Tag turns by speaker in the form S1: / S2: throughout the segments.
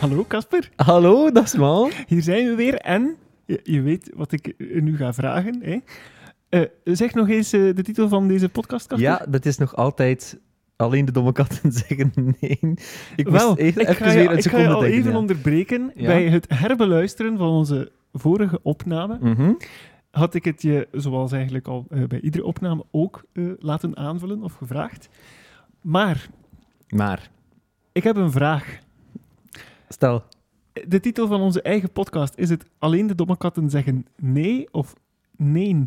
S1: Hallo Casper,
S2: Hallo, dat is Maal.
S1: hier zijn we weer en je, je weet wat ik eh, nu ga vragen. Hè? Eh, zeg nog eens eh, de titel van deze podcast, Casper.
S2: Ja, dat is nog altijd alleen de domme katten zeggen nee. Ik moest
S1: Wel,
S2: even,
S1: ik ga,
S2: even
S1: je,
S2: weer een
S1: ik ga je
S2: seconde
S1: al
S2: denken,
S1: even
S2: ja.
S1: onderbreken.
S2: Ja.
S1: Bij het herbeluisteren van onze vorige opname
S2: Mhm.
S1: had ik het je, zoals eigenlijk al eh, bij iedere opname, ook eh, laten aanvullen of gevraagd. Maar
S2: Maar,
S1: ik heb een vraag.
S2: stel,
S1: De titel van onze eigen podcast, is het alleen de domme katten zeggen nee of nee?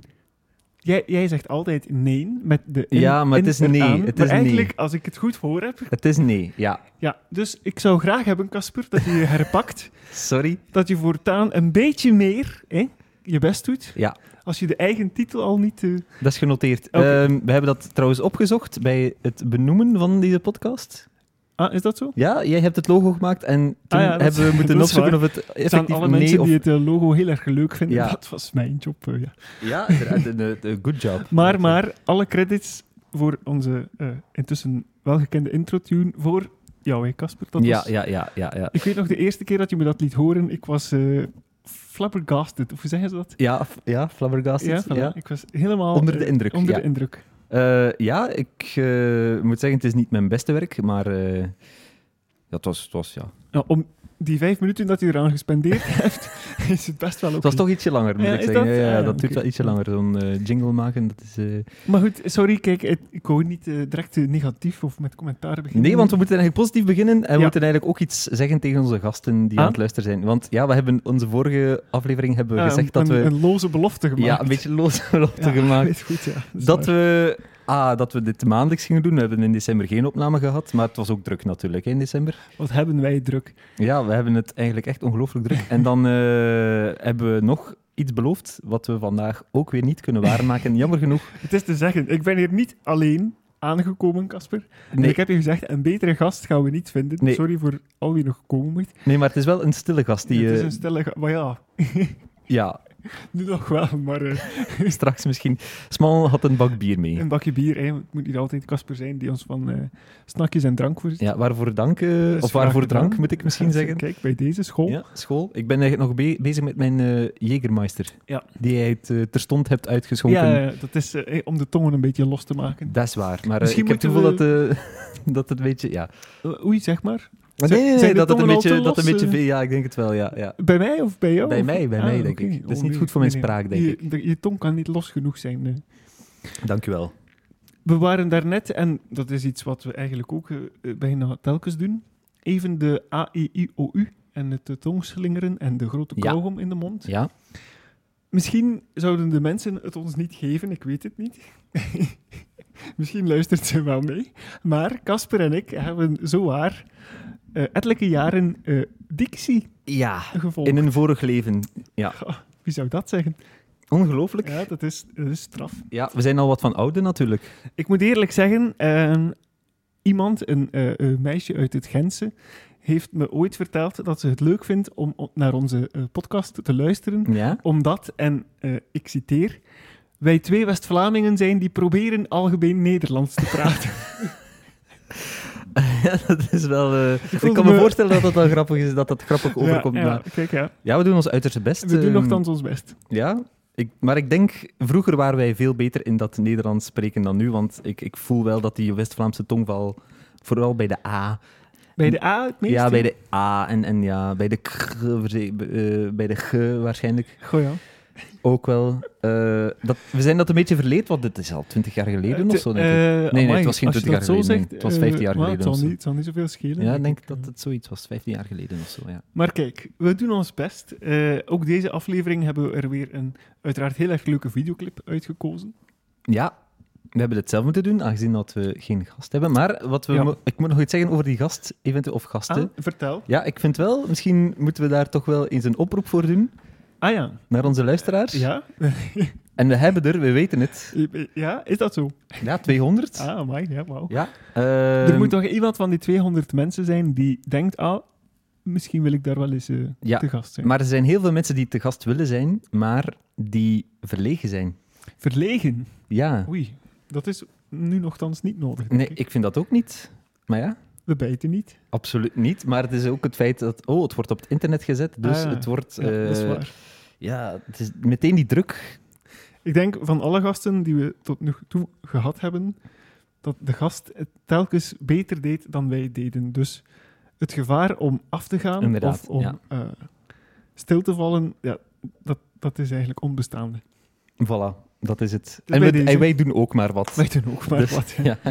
S1: Jij, jij zegt altijd nee met de in-
S2: Ja, maar het
S1: in
S2: is nee,
S1: eraan.
S2: het
S1: maar
S2: is
S1: eigenlijk,
S2: nee.
S1: als ik het goed voor heb...
S2: het is nee. Ja,
S1: Ja, dus ik zou graag hebben, Casper, dat je je herpakt.
S2: sorry.
S1: dat je voortaan een beetje meer hè, je best doet.
S2: Ja.
S1: Als je de eigen titel al niet... eh,
S2: Dat is genoteerd.
S1: Oké.
S2: Ehm, we hebben dat trouwens opgezocht bij het benoemen van deze podcast.
S1: Ah, is dat zo?
S2: Ja, jij hebt het logo gemaakt en toen
S1: Ah ja, dat-
S2: hebben we moeten
S1: dat is
S2: opzoeken of het
S1: Er zijn
S2: effectief
S1: alle mensen
S2: nee of...
S1: die het eh, logo heel erg leuk vinden.
S2: Ja.
S1: Dat was mijn job, eh, ja.
S2: Ja, inderdaad, een- een- een good job.
S1: Maar, maar, alle credits voor onze eh, intussen welgekende intro-tune voor jou, hè, Casper. Dat
S2: Ja,
S1: was-
S2: ja, ja, ja, ja.
S1: Ik weet nog de eerste keer dat je me dat liet horen, ik was eh flabbergasted. Of hoe zeggen ze dat?
S2: Ja, f- ja, flabbergasted.
S1: Ja, voilà. Ik was helemaal...
S2: Onder de
S1: eh,
S2: indruk,
S1: Onder
S2: ja.
S1: de indruk.
S2: Eh, ja, ik eh, moet zeggen, het is niet mijn beste werk, maar eh, ja, het was, het was, ja.
S1: Nou, om die vijf minuten dat je eraan gespendeerd hebt, is het best wel oké.
S2: Het was toch ietsje langer, moet
S1: Ja,
S2: ik
S1: is
S2: zeggen.
S1: dat?
S2: Ja, ja,
S1: Ah, ja,
S2: dat duurt
S1: oké.
S2: wel ietsje langer, zo'n eh, jingle maken. Dat is, eh,
S1: Maar goed, sorry, kijk, het- ik wou niet eh, direct eh, negatief of met commentaren beginnen.
S2: Nee, want we moeten eigenlijk positief beginnen en we
S1: Mm. Ja.
S2: moeten eigenlijk ook iets zeggen tegen onze gasten die
S1: Ah.
S2: aan het luisteren zijn. Want ja, we hebben onze vorige aflevering hebben we
S1: Ah,
S2: gezegd dat
S1: een,
S2: we...
S1: Een loze belofte gemaakt.
S2: ja, een beetje loze belofte
S1: Ja,
S2: gemaakt.
S1: weet goed, ja. Dat, is
S2: Dat
S1: waar.
S2: we, ah, dat we dit maandelijks gingen doen. We hebben in december geen opname gehad, maar het was ook druk natuurlijk hè, in december.
S1: Wat hebben wij druk.
S2: Ja, we hebben het eigenlijk echt ongelooflijk druk. En dan eh, hebben we nog iets beloofd, wat we vandaag ook weer niet kunnen waarmaken. Jammer genoeg.
S1: Het is te zeggen, ik ben hier niet alleen aangekomen, Casper. En
S2: Nee.
S1: Ik heb je gezegd, een betere gast gaan we niet vinden.
S2: Nee.
S1: Sorry voor al wie nog komen moet.
S2: Nee, maar het is wel een stille gast die...
S1: het is
S2: eh,
S1: een stille... ga- Maar ja,
S2: Ja,
S1: nu nog wel, maar eh,
S2: straks misschien. Smal had een bak bier mee.
S1: een bakje bier. Hè. Het moet niet altijd Casper zijn die ons van eh, snakjes en drank voorziet.
S2: Ja, waarvoor dank, eh,
S1: is
S2: of waarvoor
S1: graag gedaan.
S2: drank moet ik misschien zeggen.
S1: Kijk, bij deze school.
S2: Ja, school. Ik ben eigenlijk nog be- bezig met mijn eh Jägermeister,
S1: Ja.
S2: die jij het eh, terstond hebt uitgeschonken.
S1: Ja, ja, dat is eh, om de tongen een beetje los te maken.
S2: Dat is waar, maar eh,
S1: Misschien
S2: ik heb het gevoel
S1: moeten
S2: dat, eh, dat het een beetje... Ja.
S1: Eh, Oei, zeg maar.
S2: Nee,
S1: Zeg-
S2: nee, nee,
S1: zijn de
S2: dat het een
S1: tongen al te
S2: beetje, dat een
S1: los,
S2: beetje
S1: eh?
S2: veel... Ja, ik denk het wel, ja. ja.
S1: Bij mij of bij jou?
S2: Bij
S1: Of-
S2: mij, bij
S1: Ah,
S2: mij, denk
S1: oké.
S2: ik. Dat is
S1: Oh,
S2: niet
S1: nee,
S2: goed voor mijn
S1: nee, nee.
S2: spraak, denk
S1: je,
S2: ik.
S1: de- je tong kan niet los genoeg zijn. eh.
S2: Dank u wel.
S1: We waren daarnet, en dat is iets wat we eigenlijk ook eh, eh, bijna telkens doen, even de A, E, I, O, U en het eh, tongslingeren en de grote
S2: Ja.
S1: kauwgom in de mond.
S2: Ja.
S1: Misschien zouden de mensen het ons niet geven, ik weet het niet. Misschien luistert ze wel mee. Maar Casper en ik hebben zowaar eh ettelijke jaren eh Dixie
S2: Ja.
S1: gevolgd.
S2: In een vorig leven.
S1: Wie zou dat zeggen?
S2: Ongelooflijk. Ja.
S1: Ja, dat is, dat is straf.
S2: we zijn al wat van ouder natuurlijk.
S1: Ik moet eerlijk zeggen, ehm, iemand, een eh, eh, meisje uit het Gentse, heeft me ooit verteld dat ze het leuk vindt om op- naar onze eh, podcast te luisteren.
S2: Ja.
S1: Omdat, en eh, ik citeer, wij twee West-Vlamingen zijn die proberen algemeen Nederlands te praten.
S2: ja dat is wel... eh, ik,
S1: voelde
S2: kan me
S1: me-
S2: voorstellen dat dat wel grappig is, dat dat grappig overkomt.
S1: ja,
S2: Ja,
S1: ja,
S2: Maar,
S1: kijk, ja.
S2: ja, we doen ons uiterste best.
S1: We doen
S2: ehm,
S1: nogthans ons best.
S2: Ja. Ik, maar ik denk, vroeger waren wij veel beter in dat Nederlands spreken dan nu, want ik, ik voel wel dat die West-Vlaamse tongval, vooral bij de A,
S1: Bij de A het meest.
S2: Ja,
S1: hè?
S2: bij de A en, en ja, bij de K, verze- eh, bij de G waarschijnlijk
S1: Goh, ja.
S2: ook wel. Eh, dat, we zijn dat een beetje verleerd, want dit is al twintig jaar geleden
S1: Eh,
S2: of zo, denk ik. nee, het was geen 20 jaar geleden, nee. Het was 15 jaar geleden
S1: Het zal
S2: of zo.
S1: niet, het zal niet zoveel schelen.
S2: Ja, ik denk dat het zoiets was, 15 jaar geleden of zo, ja.
S1: Maar kijk, we doen ons best. Eh, ook deze aflevering hebben we er weer een uiteraard heel erg leuke videoclip uitgekozen.
S2: Ja, we hebben het zelf moeten doen, aangezien dat we geen gast hebben. Maar wat we
S1: Ja.
S2: mo- ik moet nog iets zeggen over die gast, eventueel, of gasten.
S1: Ah, vertel.
S2: Ja, ik vind wel, misschien moeten we daar toch wel eens een oproep voor doen,
S1: Ah ja.
S2: naar onze luisteraars.
S1: Ja?
S2: En we hebben er, we weten het,
S1: ja, is dat zo?
S2: ja, 200.
S1: Ah, amai, ja, wauw.
S2: Ja.
S1: er
S2: ehm,
S1: moet toch iemand van die 200 mensen zijn die denkt, ah, misschien wil ik daar wel eens eh,
S2: Ja,
S1: te gast zijn.
S2: Maar er zijn heel veel mensen die te gast willen zijn, maar die verlegen zijn.
S1: Verlegen.
S2: Ja.
S1: Oei, dat is nu nogthans niet nodig. denk
S2: Nee,
S1: ik.
S2: ik vind dat ook niet. Maar ja,
S1: We bijten niet.
S2: Absoluut niet. Maar het is ook het feit dat, oh, het wordt op het internet gezet, dus
S1: Ah, ja.
S2: het wordt...
S1: Ja, dat is
S2: eh,
S1: waar.
S2: Ja, het is meteen die druk.
S1: Ik denk van alle gasten die we tot nu toe gehad hebben, dat de gast het telkens beter deed dan wij deden. Dus het gevaar om af te gaan
S2: Inderdaad,
S1: of om
S2: ja.
S1: eh, stil te vallen, ja, dat, dat is eigenlijk onbestaande.
S2: Voilà, dat is het.
S1: bij
S2: en, we-
S1: deze.
S2: en wij doen ook maar wat.
S1: Wij doen ook maar
S2: Dus,
S1: wat. hè.
S2: ja.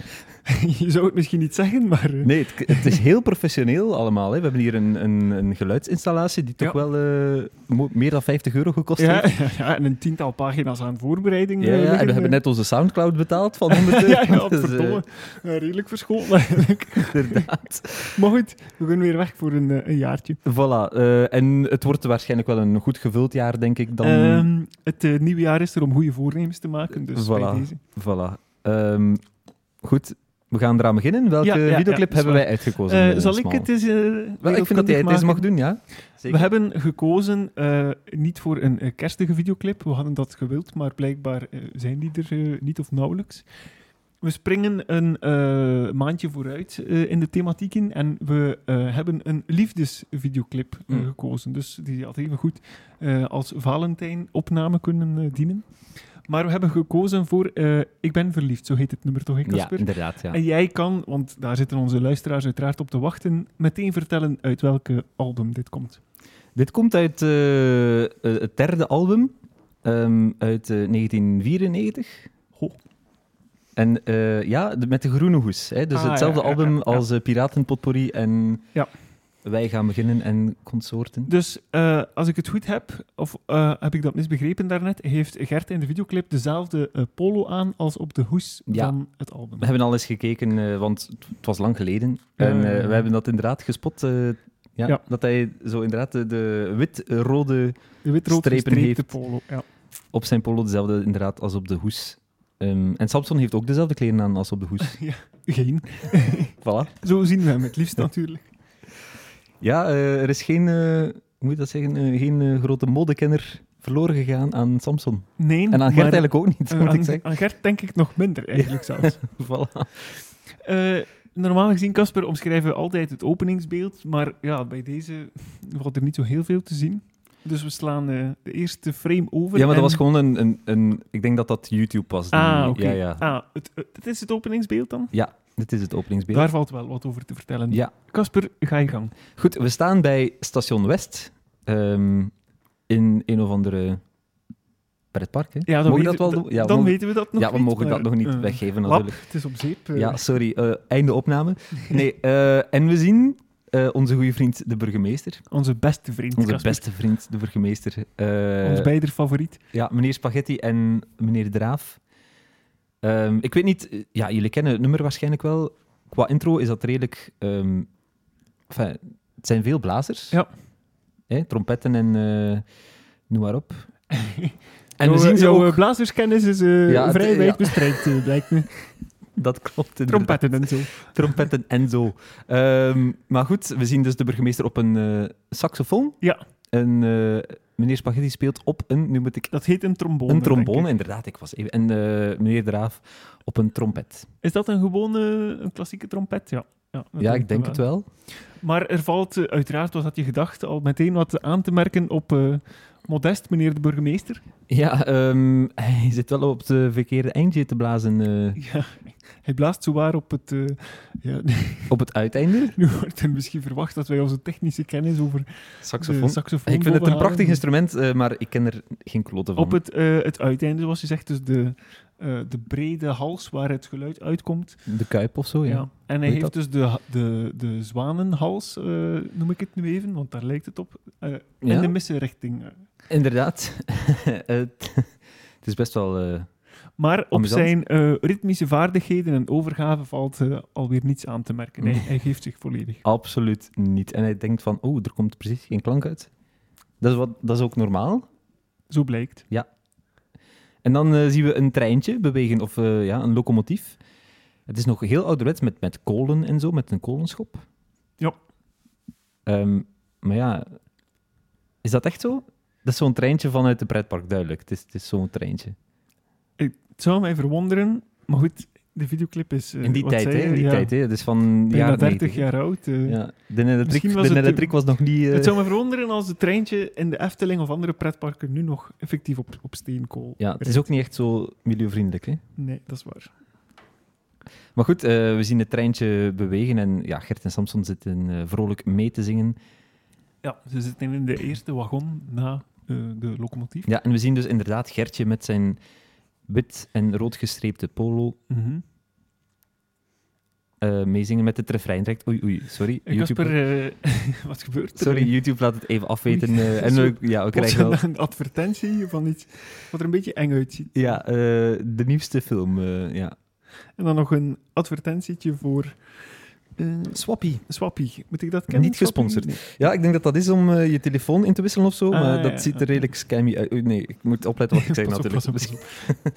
S1: Je zou het misschien niet zeggen, maar eh,
S2: Nee, het, het is heel professioneel allemaal. Hè. We hebben hier een, een, een geluidsinstallatie die toch
S1: Ja.
S2: wel eh, mo- meer dan 50 euro gekost
S1: ja,
S2: heeft.
S1: ja, ja, en een tiental pagina's aan voorbereiding.
S2: Ja,
S1: eh,
S2: ja, en
S1: liggen,
S2: we hebben
S1: eh.
S2: net onze Soundcloud betaald van 100 euro.
S1: ja, ja,
S2: Dus, eh,
S1: verdomme. Eh, redelijk verscholen eigenlijk.
S2: inderdaad.
S1: Maar goed, we kunnen weer weg voor een, eh, een jaartje.
S2: Voilà. eh, en het wordt waarschijnlijk wel een goed gevuld jaar, denk ik. Dan,
S1: Ehm, het eh, nieuwe jaar is er om goede voornemens te maken, dus bij
S2: Voilà.
S1: deze.
S2: Voilà. Ehm, goed, we gaan eraan beginnen. Welke
S1: Ja, ja, ja, dat
S2: videoclip
S1: is
S2: hebben
S1: waar.
S2: wij uitgekozen?
S1: Eh,
S2: eh,
S1: zal ik
S2: Smal?
S1: het eens... eh,
S2: Wel, ik vind dat
S1: wereldkundig
S2: jij deze
S1: maken?
S2: mag doen, ja.
S1: We hebben gekozen eh, niet voor een eh, kerstige videoclip. We hadden dat gewild, maar blijkbaar eh, zijn die er eh, niet of nauwelijks. We springen een eh, maandje vooruit eh, in de thematieken en we eh, hebben een liefdesvideoclip eh,
S2: Mm.
S1: gekozen. Dus die had even goed eh, als Valentijn opname kunnen eh, dienen. Maar we hebben gekozen voor eh, Ik ben verliefd, zo heet het nummer toch, hè,
S2: Ja,
S1: Casper?
S2: inderdaad. Ja.
S1: En jij kan, want daar zitten onze luisteraars uiteraard op te wachten, meteen vertellen uit welke album dit komt.
S2: Dit komt uit eh, eh, het derde album ehm, uit eh, 1994.
S1: Ho.
S2: En eh, ja, de- met de groene hoes. Hè? Dus
S1: Ah,
S2: hetzelfde
S1: ja, ja,
S2: album
S1: ja, ja.
S2: als eh, Piratenpotpourri en
S1: Ja.
S2: Wij gaan beginnen en consorten.
S1: Dus eh, als ik het goed heb, of eh, heb ik dat misbegrepen daarnet, heeft Gert in de videoclip dezelfde eh, polo aan als op de hoes
S2: Ja.
S1: van het album.
S2: We hebben al eens gekeken, eh, want het- het was lang geleden.
S1: Ja,
S2: en
S1: ja,
S2: eh,
S1: ja.
S2: we hebben dat inderdaad gespot. eh, ja,
S1: Ja.
S2: Dat hij zo inderdaad de, de wit-rode
S1: De wit-rood
S2: strepen
S1: gestreepte
S2: heeft.
S1: polo. Ja.
S2: op zijn polo dezelfde inderdaad als op de hoes. Ehm, en Samson heeft ook dezelfde kleren aan als op de hoes.
S1: Geen.
S2: voilà.
S1: Zo zien we hem het liefst natuurlijk.
S2: Ja, eh, er is geen, eh, hoe moet je dat zeggen, eh, geen eh, grote modekenner verloren gegaan aan Samson.
S1: Nee,
S2: En aan Gert
S1: maar,
S2: eigenlijk ook niet,
S1: eh,
S2: moet ik
S1: aan-
S2: zeggen.
S1: aan Gert denk ik nog minder eigenlijk zelfs.
S2: Voilà.
S1: Eh, normaal gezien, Casper, omschrijven we altijd het openingsbeeld. Maar ja, bij deze valt er niet zo heel veel te zien. Dus we slaan eh, de eerste frame over.
S2: Ja, maar dat was
S1: en-
S2: gewoon een, een, een... Ik denk dat dat YouTube was. die-
S1: Ah, oké.
S2: Ja, ja.
S1: Ah, het, het- het is het openingsbeeld dan?
S2: Dit is het openingsbeeld.
S1: Daar valt wel wat over te vertellen.
S2: Ja.
S1: Casper, ga je gang.
S2: Goed, we staan bij Station West. ehm, in een of andere pretpark, hè?
S1: Ja, dan
S2: mogen we
S1: weten,
S2: dat wel doen?
S1: d-
S2: Ja,
S1: dan
S2: mogen-
S1: weten we dat nog
S2: ja, we
S1: niet,
S2: mogen dat
S1: maar,
S2: nog niet
S1: eh,
S2: weggeven,
S1: lap,
S2: natuurlijk.
S1: het is op zeep. eh.
S2: Ja, sorry. eh, einde opname. Nee, eh, en we zien eh, onze goede vriend de burgemeester.
S1: Onze beste vriend,
S2: Onze
S1: Casper.
S2: beste vriend, de burgemeester. eh,
S1: Ons beider favoriet.
S2: ja, meneer Spaghetti en meneer Draaf. Ehm, ik weet niet, eh, ja, jullie kennen het nummer waarschijnlijk wel. Qua intro is dat redelijk. ehm, enfin, het zijn veel blazers.
S1: Ja.
S2: Hè, trompetten en eh, noem maar op. en
S1: Jouw,
S2: we zien ze
S1: jouw
S2: ook.
S1: blazerskennis is eh,
S2: Ja, het-
S1: vrij
S2: ja.
S1: wijd bestrijkt, eh, blijkt me.
S2: Dat klopt. inderdaad.
S1: Trompetten en zo.
S2: Trompetten en zo. Ehm, maar goed, we zien dus de burgemeester op een eh, saxofoon.
S1: Ja.
S2: En eh, meneer Spaghetti speelt op een, nu moet ik.
S1: Dat heet een trombone.
S2: Een
S1: denk ik.
S2: trombone, inderdaad. Ik was even, en eh, meneer Draaf op een trompet.
S1: Is dat een gewone, een klassieke trompet? Ja, ja, dat
S2: Ja, ik denk het wel.
S1: Maar er valt, eh, uiteraard was dat je gedachte, al meteen wat aan te merken op eh, Modest, meneer de burgemeester.
S2: Ja, ehm, hij zit wel op het verkeerde eindje te blazen eh,
S1: Ja, hij blaast zowaar op het... eh, ja,
S2: op het uiteinde.
S1: nu wordt er misschien verwacht dat wij onze technische kennis over de
S2: Saxofoon.
S1: saxofoon
S2: Dus, eh, Ik vind het een
S1: bovenhalen.
S2: prachtig instrument, eh, maar ik ken er geen klote van.
S1: Op het, eh, het uiteinde, zoals je zegt, dus de, eh, de brede hals waar het geluid uitkomt.
S2: De kuip of zo, Oh ja.
S1: Ja. En hij
S2: Weet
S1: heeft
S2: dat?
S1: dus de, de, de zwanenhals, eh, noem ik het nu even, want daar lijkt het op. eh,
S2: Ja?
S1: En de missenrichting. eh.
S2: Inderdaad. het, het is best wel... eh,
S1: Maar op
S2: Amusant.
S1: zijn eh, ritmische vaardigheden en overgave valt eh, alweer niets aan te merken. Hij,
S2: Nee.
S1: hij geeft zich volledig.
S2: Absoluut niet. En hij denkt van, oh, er komt precies geen klank uit. Dat is, wat, dat is ook normaal.
S1: Zo blijkt.
S2: En dan eh, zien we een treintje bewegen, of eh, ja, een locomotief. Het is nog heel ouderwets, met, met kolen en zo, met een kolenschop.
S1: Ja.
S2: Ehm, maar ja, is dat echt zo? Dat is zo'n treintje vanuit het pretpark, duidelijk. Het is, het is zo'n treintje.
S1: Het zou mij verwonderen, maar goed, de videoclip is... eh,
S2: In die
S1: wat
S2: tijd,
S1: zei
S2: hè?
S1: je?
S2: In die
S1: Ja,
S2: tijd, hè? Dus van
S1: Bijna
S2: jaren
S1: 30
S2: 90, hè.
S1: jaar oud. eh.
S2: Ja. De Nedertrick
S1: Misschien
S2: was,
S1: was het
S2: was nog niet... eh,
S1: Het zou me verwonderen als het treintje in de Efteling of andere pretparken nu nog effectief op, op steenkool
S2: Ja, het
S1: rijdt.
S2: is ook niet echt zo milieuvriendelijk, hè?
S1: Nee, dat is waar.
S2: Maar goed, eh, we zien het treintje bewegen en ja, Gert en Samson zitten eh, vrolijk mee te zingen.
S1: Ja, ze zitten in de eerste wagon na eh, de locomotief.
S2: Ja, en we zien dus inderdaad Gertje met zijn wit en rood gestreepte polo
S1: Mhm.
S2: eh, meezingen met het refrein direct. Oei, oei, sorry.
S1: En
S2: YouTube,
S1: Casper, eh, wat gebeurt er?
S2: sorry, YouTube laat het even afweten.
S1: Oei,
S2: eh, en
S1: zo
S2: we, ja, we
S1: Plots
S2: krijgen wel...
S1: een advertentie van iets wat er een beetje eng uitziet.
S2: Ja, eh, de nieuwste film, eh, ja.
S1: En dan nog een advertentietje voor eh
S2: Swappie.
S1: Swappie. Moet ik dat kennen?
S2: Niet
S1: Swappie?
S2: gesponsord.
S1: Nee.
S2: Ja, ik denk dat dat is om eh, je telefoon in te wisselen of zo,
S1: Ah,
S2: maar
S1: ja,
S2: dat
S1: ja,
S2: ziet er
S1: ja.
S2: redelijk scammy uit. Oei, nee, ik moet opletten wat ik zeg
S1: Pas op,
S2: natuurlijk.
S1: pas op,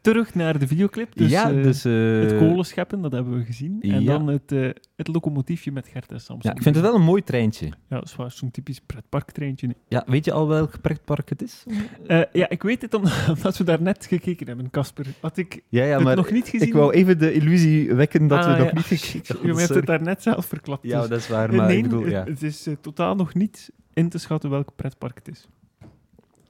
S1: Terug naar de videoclip. Dus,
S2: ja,
S1: eh,
S2: dus... eh,
S1: Het kolen scheppen, dat hebben we gezien. En
S2: ja.
S1: dan het, eh, het locomotiefje met Gert en Samson.
S2: Ja, ik vind het wel een mooi treintje.
S1: Ja, dat is waar, zo'n typisch pretparktreintje.
S2: Ja, weet je al welk pretpark het is?
S1: Eh ja, ik weet het omdat, omdat we daar net gekeken hebben, Casper. Had ik
S2: Ja, ja,
S1: het
S2: maar
S1: nog niet gezien?
S2: ik wou even de illusie wekken dat
S1: Ah,
S2: we
S1: ja.
S2: nog niet gekeken
S1: Je
S2: hadden.
S1: hebt het
S2: Sorry.
S1: daar net zelf verklapt.
S2: Ja,
S1: dus-
S2: dat is waar,
S1: Eh,
S2: maar
S1: nee,
S2: ik bedoel,
S1: het,
S2: ja.
S1: het is eh, totaal nog niet in te schatten welk pretpark het is.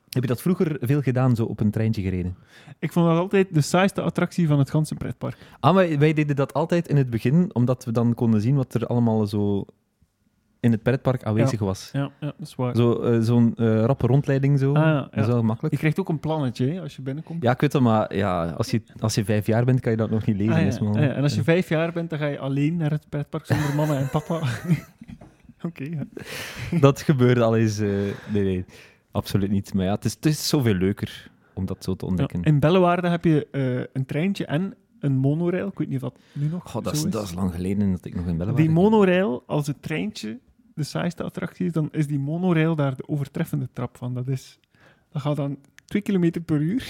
S2: Heb je dat vroeger veel gedaan, zo op een treintje gereden?
S1: Ik vond dat altijd de saaiste attractie van het ganse pretpark.
S2: Ah, maar wij deden dat altijd in het begin, omdat we dan konden zien wat er allemaal zo in het pretpark aanwezig was.
S1: Ja, ja dat is waar.
S2: Zo, eh, Zo'n eh, rappe rondleiding, zo.
S1: Ah, ja,
S2: Dat is
S1: ja.
S2: wel makkelijk.
S1: Je krijgt ook een plannetje hè, als je binnenkomt.
S2: Ja, ik weet dat, maar ja, als, je, als je vijf jaar bent, kan je dat nog niet lezen.
S1: Ah, ja.
S2: is maar-
S1: Ah, ja. En als je vijf jaar bent, dan ga je alleen naar het pretpark zonder mama en papa. Oké, ja.
S2: dat gebeurde al eens. eh, nee, nee, absoluut niet. Maar ja, het is, het is zoveel leuker om dat zo te
S1: Ja,
S2: ontdekken.
S1: In Bellewaarde heb je eh, een treintje en een monorail. Ik weet niet of dat nu nog
S2: Goh, dat, is,
S1: zo is.
S2: dat is lang geleden dat ik nog in België
S1: die monorail, als het treintje de saaiste attractie is, dan is die monorail daar de overtreffende trap van. Dat, is, dat gaat dan twee kilometer per uur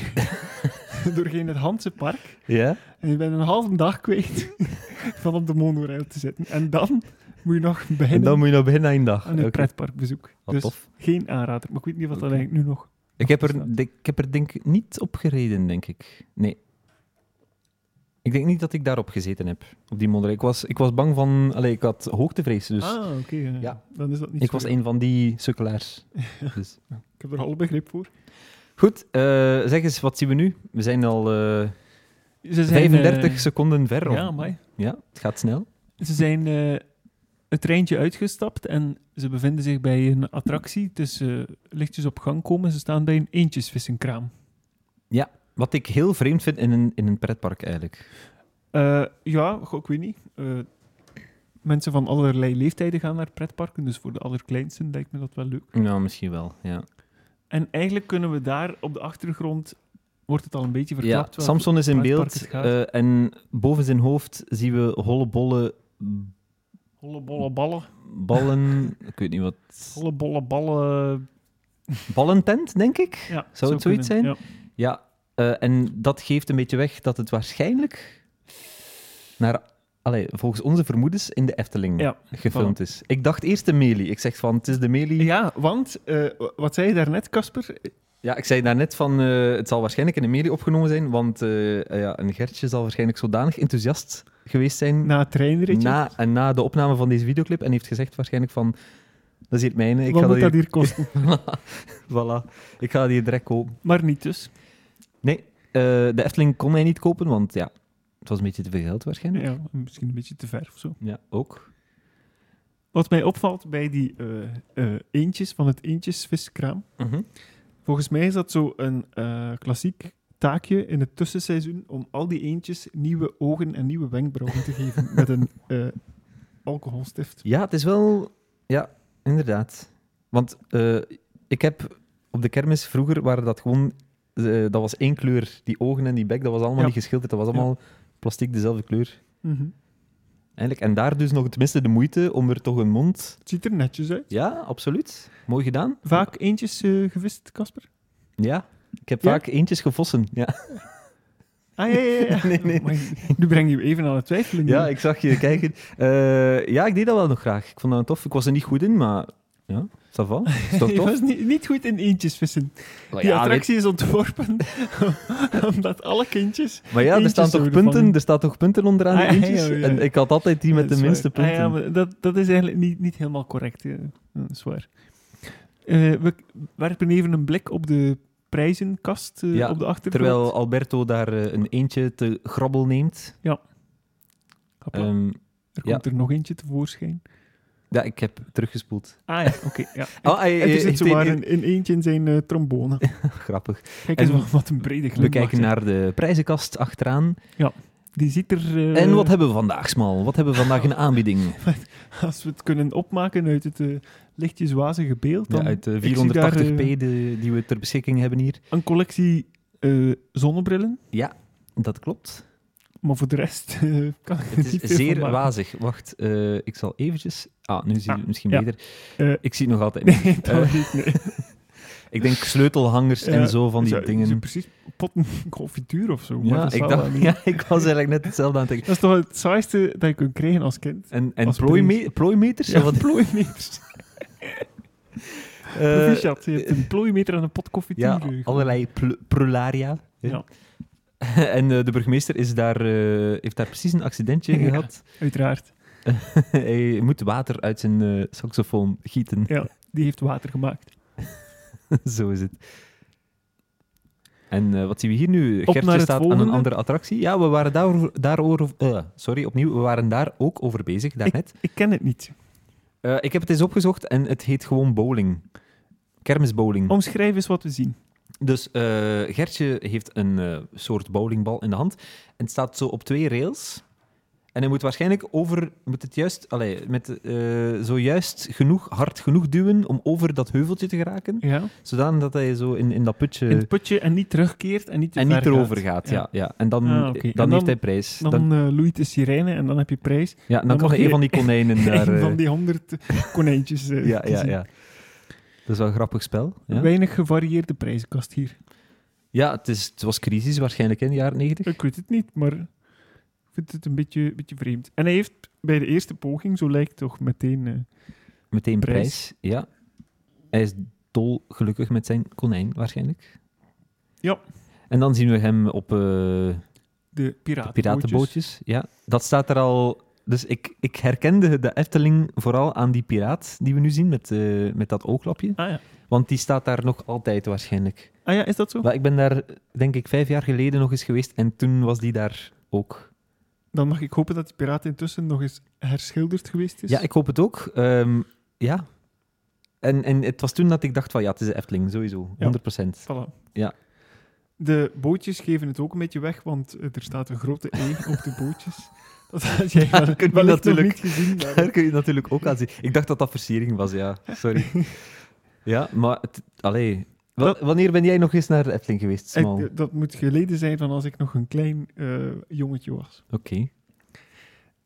S1: doorheen het Hanse Park.
S2: Ja?
S1: En je bent een halve dag kwijt van op de monorail te zitten. En dan moet je nog
S2: En
S1: beginnen
S2: dan moet je nog beginnen aan je dag.
S1: aan een
S2: Oké.
S1: pretparkbezoek.
S2: Wat
S1: Ah, dus
S2: tof.
S1: geen aanrader. Maar ik weet niet wat dat
S2: Oké.
S1: eigenlijk nu nog...
S2: Ik heb,
S1: staat.
S2: er, ik heb er denk ik niet op gereden, denk ik. Nee. Ik denk niet dat ik daarop gezeten heb, op die monorail. Ik was, ik was bang van... Allee, ik had hoogtevrees, dus
S1: ah, oké. ja.
S2: ja.
S1: Dan is dat niet
S2: ik
S1: voor
S2: was
S1: jou.
S2: een van die sukkelaars. Dus.
S1: Ik heb er alle begrip voor.
S2: Goed, eh, zeg eens, wat zien we nu? We zijn al eh,
S1: Ze zijn,
S2: 35
S1: eh,
S2: seconden ver. of-
S1: Ja, amai.
S2: ja, het gaat snel.
S1: Ze zijn eh, het treintje uitgestapt en ze bevinden zich bij een attractie. Het is eh, lichtjes op gang komen. Ze staan bij een eentjesvissenkraam.
S2: Wat ik heel vreemd vind in een, in een pretpark, eigenlijk.
S1: Eh, ja, goh, ik weet niet. Eh, mensen van allerlei leeftijden gaan naar pretparken, dus voor de allerkleinsten lijkt me dat wel leuk.
S2: Ja, Nou, misschien wel, ja.
S1: En eigenlijk kunnen we daar op de achtergrond, wordt het al een beetje
S2: Ja,
S1: verklapt. want-
S2: Samson is in
S1: waar het
S2: beeld
S1: parket gaat.
S2: eh, en boven zijn hoofd zien we holle bolle
S1: Holle bolle ballen,
S2: ballen. ik weet niet wat.
S1: holle bolle ballen.
S2: Ballentent, denk ik.
S1: Ja,
S2: Zou het zoiets zijn?
S1: Ja.
S2: Ja, eh, en dat geeft een beetje weg dat het waarschijnlijk naar, allee, volgens onze vermoedens in de Efteling
S1: Ja,
S2: gefilmd is. Ik dacht eerst de Meli. Ik zeg van, het is de Meli. Ja,
S1: Ja, want eh, wat zei je daarnet, Casper?
S2: ik zei daarnet van, eh, het zal waarschijnlijk in de Meli opgenomen zijn, want eh, eh, ja, een Gertje zal waarschijnlijk zodanig enthousiast geweest zijn
S1: Na het treinritje?
S2: na, en na de opname van deze videoclip en heeft gezegd waarschijnlijk van dat is hier het mijne, ik
S1: Wat
S2: ga
S1: moet dat
S2: dat hier,
S1: hier kosten?
S2: voilà, ik ga dat hier direct kopen.
S1: maar niet dus.
S2: Nee, eh, de Efteling kon hij niet kopen, want ja, het was een beetje te veel geld waarschijnlijk.
S1: Ja, misschien een beetje te ver of zo.
S2: Ja, ook.
S1: Wat mij opvalt bij die eh, eh, eentjes van het eentjesviskraam.
S2: Mhm.
S1: Volgens mij is dat zo een eh, klassiek taakje in het tussenseizoen om al die eentjes nieuwe ogen en nieuwe wenkbrauwen te geven met een eh, alcoholstift.
S2: Ja, het is wel... Ja, inderdaad. Want eh, ik heb op de kermis vroeger waren dat gewoon... eh, dat was één kleur, die ogen en die bek, dat was allemaal
S1: Ja.
S2: niet geschilderd. Dat was allemaal plastic dezelfde kleur.
S1: Mhm.
S2: Eigenlijk. En daar dus nog tenminste de moeite om er toch een mond...
S1: Het ziet er netjes uit.
S2: Ja, absoluut. Mooi gedaan.
S1: Vaak eentjes eh, gevist, Casper?
S2: Ja, ik heb
S1: Ja?
S2: vaak eentjes gevossen. Ja,
S1: Ah, ja, ja, ja.
S2: Nee, nee.
S1: Maar nu breng je me even aan het twijfelen.
S2: ja ik zag je kijken. Eh, ja, ik deed dat wel nog graag. Ik vond dat tof. Ik was er niet goed in, maar ja. ça va? Is dat
S1: Je
S2: tof?
S1: was niet, niet goed in eentjes vissen.
S2: Maar
S1: Die
S2: ja,
S1: attractie is ontworpen omdat alle kindjes...
S2: weet- maar ja, er
S1: eentjes
S2: staan toch
S1: zouden
S2: punten,
S1: vangen.
S2: er staan toch punten onderaan die
S1: Ah, ja,
S2: eentjes?
S1: ja, ja.
S2: En ik had altijd die met
S1: Ja,
S2: de
S1: dat is
S2: minste
S1: waar. Ah
S2: punten.
S1: ja, maar dat, dat is eigenlijk niet, niet helemaal correct. Ja. Ja, Dat is waar. Eh, we werpen even een blik op de prijzenkast eh,
S2: Ja,
S1: op de achtergrond.
S2: Terwijl Alberto daar eh, een eentje te grabbel neemt.
S1: Hopla,
S2: Ehm,
S1: er
S2: ja.
S1: komt er nog eentje tevoorschijn.
S2: ja, ik heb teruggespoeld.
S1: Ah ja, oké. ja.
S2: Ah, hij-
S1: Het
S2: hij-
S1: is
S2: hij-
S1: niet zomaar
S2: hij-
S1: een, een eentje in zijn eh, trombone.
S2: Grappig.
S1: Kijk
S2: En
S1: eens wat, wat een brede
S2: We
S1: glimlach.
S2: kijken
S1: hè.
S2: naar de prijzenkast achteraan.
S1: Die ziet er... eh,
S2: En wat hebben we vandaag, Smal? Wat hebben we vandaag in de aanbieding?
S1: Als we het kunnen opmaken uit het eh, lichtjes wazige beeld, dan
S2: Ja, uit eh, de
S1: ik zie daar,
S2: 480p
S1: eh,
S2: de- die we ter beschikking hebben hier.
S1: een collectie eh, zonnebrillen.
S2: Dat klopt.
S1: Maar voor de rest eh, kan ik
S2: Het
S1: niet
S2: is
S1: veel van
S2: zeer
S1: maken.
S2: wazig. Wacht, eh, ik zal eventjes... Ah, nu zie je
S1: Ah,
S2: het misschien
S1: ja.
S2: beter.
S1: Eh,
S2: Ik zie het nog altijd niet.
S1: Nee, dat
S2: Eh,
S1: niet, nee.
S2: Ik denk sleutelhangers
S1: Ja,
S2: en zo van die
S1: Zo-
S2: dingen.
S1: zo precies potten confituur of zo. maar
S2: ja,
S1: dat
S2: ik
S1: zal wel
S2: dacht,
S1: niet.
S2: ja, ik was eigenlijk net hetzelfde aan het denken.
S1: Dat is toch het saaiste dat je kunt krijgen als kind?
S2: En, en
S1: Als
S2: plooime- plooimeters?
S1: Ja,
S2: Ja, wat,
S1: plooimeters.
S2: eh,
S1: Proficiat, je hebt een plooimeter en een pot confituur.
S2: ja,
S1: eh,
S2: allerlei pl- prularia. hè.
S1: Ja.
S2: en eh, de burgemeester is daar, eh, heeft daar precies een accidentje
S1: Ja.
S2: gehad.
S1: Uiteraard.
S2: Hij moet water uit zijn eh, saxofoon gieten.
S1: Ja, die heeft water gemaakt.
S2: Zo is het. En eh, wat zien we hier nu?
S1: naar
S2: Gertje
S1: het
S2: staat aan
S1: volgende.
S2: een andere attractie. Ja, we waren daar, daarover... eh, sorry, opnieuw. We waren daar ook over bezig, daarnet.
S1: Ik ken het niet.
S2: Eh, ik heb het eens opgezocht en het heet gewoon bowling. Kermisbowling.
S1: Omschrijf eens wat we zien.
S2: Dus eh, Gertje heeft een eh, soort bowlingbal in de hand en staat zo op twee rails. En hij moet waarschijnlijk over, moet het juist, allee, met, eh, zojuist genoeg, hard genoeg duwen om over dat heuveltje te geraken.
S1: Ja.
S2: Zodanig dat hij zo in, in dat putje
S1: In het putje en niet terugkeert en niet te
S2: Eh, en
S1: ver
S2: niet erover gaat. ja.
S1: Ja.
S2: Ja, En dan,
S1: Ah, oké.
S2: dan,
S1: En dan-
S2: heeft hij prijs. Dan,
S1: Dan, eh, loeit de sirene en dan heb je prijs.
S2: ja, dan,
S1: dan
S2: kan
S1: mag
S2: hij een
S1: je-
S2: van die konijnen daar...
S1: Een
S2: eh,
S1: van die honderd konijntjes. eh,
S2: ja, ja,
S1: kiezen.
S2: ja. Dat is wel een grappig spel. Ja,
S1: Weinig gevarieerde prijzenkast hier.
S2: ja het, is, het was crisis waarschijnlijk in de jaren negentig.
S1: Ik weet het niet, maar ik vind het een beetje, beetje vreemd. En hij heeft bij de eerste poging, zo lijkt het toch meteen... eh,
S2: Meteen prijs.
S1: Prijs.
S2: ja. Hij is dolgelukkig met zijn konijn, waarschijnlijk.
S1: Ja.
S2: En dan zien we hem op eh, de
S1: de piratenbootjes.
S2: piratenbootjes. Ja, dat staat er al... Dus ik, ik herkende de Efteling vooral aan die piraat die we nu zien met, eh, met dat ooglapje.
S1: Ah ja.
S2: Want die staat daar nog altijd waarschijnlijk.
S1: ah ja, is dat zo?
S2: Maar ik ben daar, denk ik, vijf jaar geleden nog eens geweest en toen was die daar ook.
S1: Dan mag ik hopen dat die piraat intussen nog eens herschilderd geweest is.
S2: Ja, ik hoop het ook. Ehm, ja. En, en het was toen dat ik dacht van ja, het is de Efteling, sowieso.
S1: Ja.
S2: 100%.
S1: Voilà.
S2: Ja.
S1: De bootjes geven het ook een beetje weg, want eh, er staat een grote E op de bootjes. Dat had jij wel,
S2: kun je
S1: wellicht nog
S2: natuurlijk-
S1: niet gezien. maar-
S2: Daar kun je natuurlijk ook aan zien. Ik dacht dat dat versiering was, ja. Sorry. Ja, maar... Het, allee. Wa- Wanneer ben jij nog eens naar de Efteling geweest,
S1: Ik- eh,
S2: Smal? Oké.
S1: dat moet geleden zijn van als ik nog een klein eh, jongetje was. De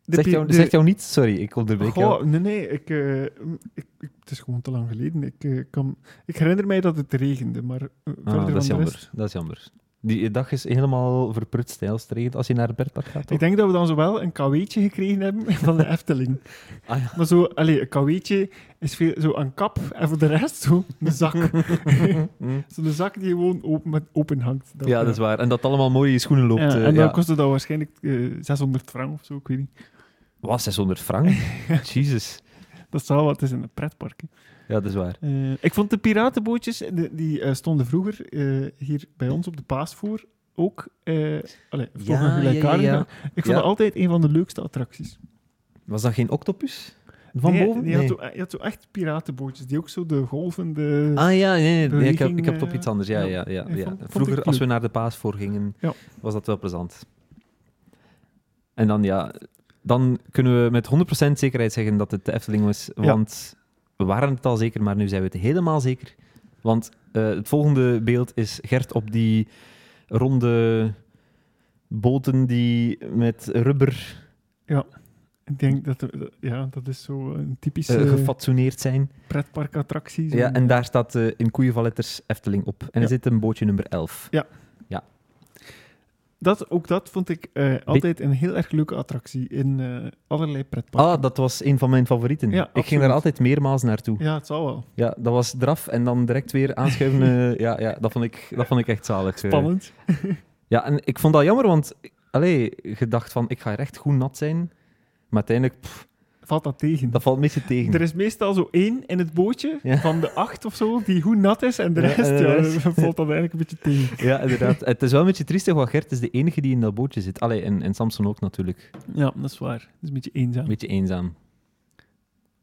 S2: Zegt,
S1: pi-
S2: jou,
S1: de-
S2: zegt jou niet... Sorry, ik onderbreek jou.
S1: Goh, nee, nee. Ik, eh, m- ik, ik- het is gewoon te lang geleden. Ik, eh, kan, ik herinner mij dat het regende, maar eh,
S2: Ah,
S1: verder
S2: dat is
S1: van de
S2: jammer.
S1: rest...
S2: Dat is jammer. Die dag is helemaal verprutst, hè, als het regent, als je naar het Bertpark gaat. toch?
S1: Ik denk dat we dan zowel een kweetje gekregen hebben van de Efteling.
S2: Ah, ja.
S1: Maar zo, allee, een kweetje is veel, zo een kap en voor de rest zo een zak.
S2: Mm.
S1: Zo'n zak die gewoon open, met- open hangt. eh,
S2: Ja, dat is waar. En dat allemaal mooi in je schoenen loopt.
S1: Ja,
S2: eh,
S1: en dan
S2: ja.
S1: kostte dat waarschijnlijk eh, 600 frank of zo, ik weet niet.
S2: Wat, 600 frank? Jezus.
S1: Dat zal wat, het is in een pretpark. hè.
S2: Ja, dat is waar.
S1: Eh, ik vond de piratenbootjes, de- die eh, stonden vroeger eh, hier bij ons op de Paasvoer ook. eh allee, toch
S2: Ja,
S1: een gelijkaardige.
S2: ja, ja, ja.
S1: Ik vond
S2: Ja.
S1: dat altijd een van de leukste attracties.
S2: Was dat geen octopus? Van
S1: Nee,
S2: boven?
S1: Je
S2: Nee.
S1: had, zo, je had zo echt piratenbootjes, die ook zo de golvende...
S2: Ah ja, nee, nee, nee, ik, heb,
S1: Beweging,
S2: ik heb het op
S1: eh,
S2: iets anders. Ja,
S1: ja.
S2: ja, ja,
S1: Ik
S2: ja.
S1: vond- vond
S2: Vroeger,
S1: ik
S2: als we naar de paas voor gingen,
S1: Ja.
S2: was dat wel plezant. En dan, ja, dan kunnen we met 100% zekerheid zeggen dat het de Efteling was.
S1: Ja.
S2: Want we waren het al zeker, maar nu zijn we het helemaal zeker. Want eh, het volgende beeld is Gert op die ronde boten die met rubber
S1: Ik denk dat, er- dat- ja, dat is zo een
S2: eh,
S1: typische
S2: gefatsoeneerd zijn.
S1: pretparkattractie.
S2: Ja,
S1: zo'n-
S2: en daar staat eh, in koeienvalletters Efteling op. En er
S1: Ja.
S2: zit een bootje nummer 11.
S1: dat, ook dat vond ik eh, altijd een heel erg leuke attractie in eh, allerlei pretparken.
S2: Ah, dat was een van mijn favorieten.
S1: Ja,
S2: ik ging
S1: absoluut.
S2: daar altijd meermaals naartoe.
S1: Ja, het zal wel.
S2: Ja, dat was eraf en dan direct weer aanschuiven. eh, ja, ja dat, vond ik, dat vond ik echt zalig. eh.
S1: Spannend.
S2: Ja, en ik vond dat jammer, want allee, je dacht van, ik ga hier echt goed nat zijn. Maar uiteindelijk, pff,
S1: Valt dat tegen?
S2: dat valt meestal tegen.
S1: Er is meestal zo één in het bootje
S2: Hm. Ja.
S1: van de acht of zo, die hoe nat is, en de
S2: Ja,
S1: rest,
S2: en de
S1: ja,
S2: rest.
S1: valt dat eigenlijk een beetje tegen.
S2: Ja, inderdaad. Het is wel een beetje triestig, want Gert is de enige die in dat bootje zit. Allee, en, en Samson ook natuurlijk.
S1: Ja, dat is waar. Dat is een beetje
S2: Een
S1: eenzaam.
S2: beetje eenzaam.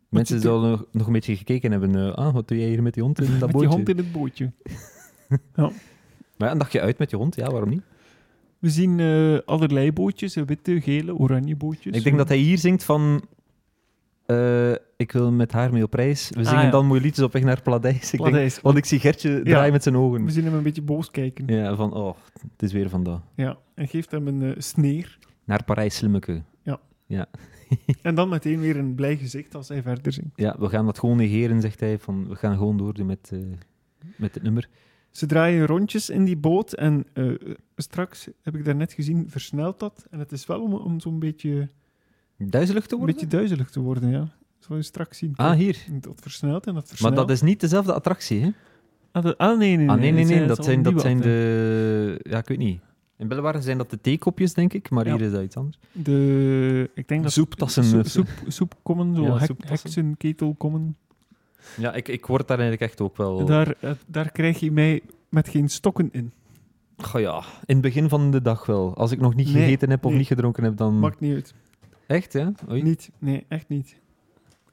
S2: Mensen
S1: je doet-
S2: zouden nog, nog een beetje gekeken hebben. eh, ah, wat doe jij hier met die hond in dat
S1: Met
S2: bootje?
S1: je hand in het bootje.
S2: Maar ja, een dagje uit met je hond, ja, waarom niet?
S1: We zien eh, allerlei bootjes, eh, witte, gele, oranje bootjes.
S2: Ik denk dat hij hier zingt van... eh, ik wil met haar mee op reis. We zingen
S1: Ah, ja.
S2: dan mooie liedjes op weg naar Paladijs. Ik denk,
S1: Paradijs.
S2: want ik zie Gertje draaien met zijn ogen.
S1: We zien hem een beetje boos kijken. Ja.
S2: Ja, van, oh, het is weer vandaag.
S1: En geeft hem een eh, sneer.
S2: Naar Parijs, slimmeke.
S1: En dan meteen weer een blij gezicht als hij verder zingt.
S2: Ja, we gaan dat gewoon negeren, zegt hij. Van, we gaan gewoon doordoen met, eh, met het nummer.
S1: Ze draaien rondjes in die boot en eh, straks, heb ik daarnet gezien, versnelt dat. En het is wel om, om zo'n beetje,
S2: Duizelig te
S1: een
S2: worden?
S1: beetje duizelig te worden, ja. Dat zal je straks zien.
S2: Ah, hier.
S1: Dat versnelt en dat
S2: Maar
S1: versnelt.
S2: dat is niet dezelfde attractie, hè?
S1: Ah, dat- ah, nee, nee, nee.
S2: ah, nee, nee,
S1: Het
S2: nee.
S1: het
S2: dat
S1: zal
S2: zijn, dat
S1: nieuwe
S2: zijn
S1: atten-
S2: de... Ja, ik weet niet. In Bellewaren zijn dat de theekopjes, denk ik. Maar
S1: Ja.
S2: hier is dat iets anders. eh,
S1: De... Ik denk dat...
S2: Soeptassen.
S1: Soep, soep, soepkommen, zo
S2: Ja,
S1: hek-
S2: soeptassen.
S1: heksen, ketelkommen.
S2: Ja, ik, ik word daar eigenlijk echt ook wel...
S1: Daar, eh, daar krijg je mij met geen stokken in.
S2: Goh, ja, in het begin van de dag wel. Als ik nog niet
S1: Nee,
S2: gegeten heb of
S1: nee.
S2: niet gedronken heb, dan...
S1: Maakt niet uit.
S2: Echt, hè? Hmm. Oei.
S1: Niet. Nee, echt niet.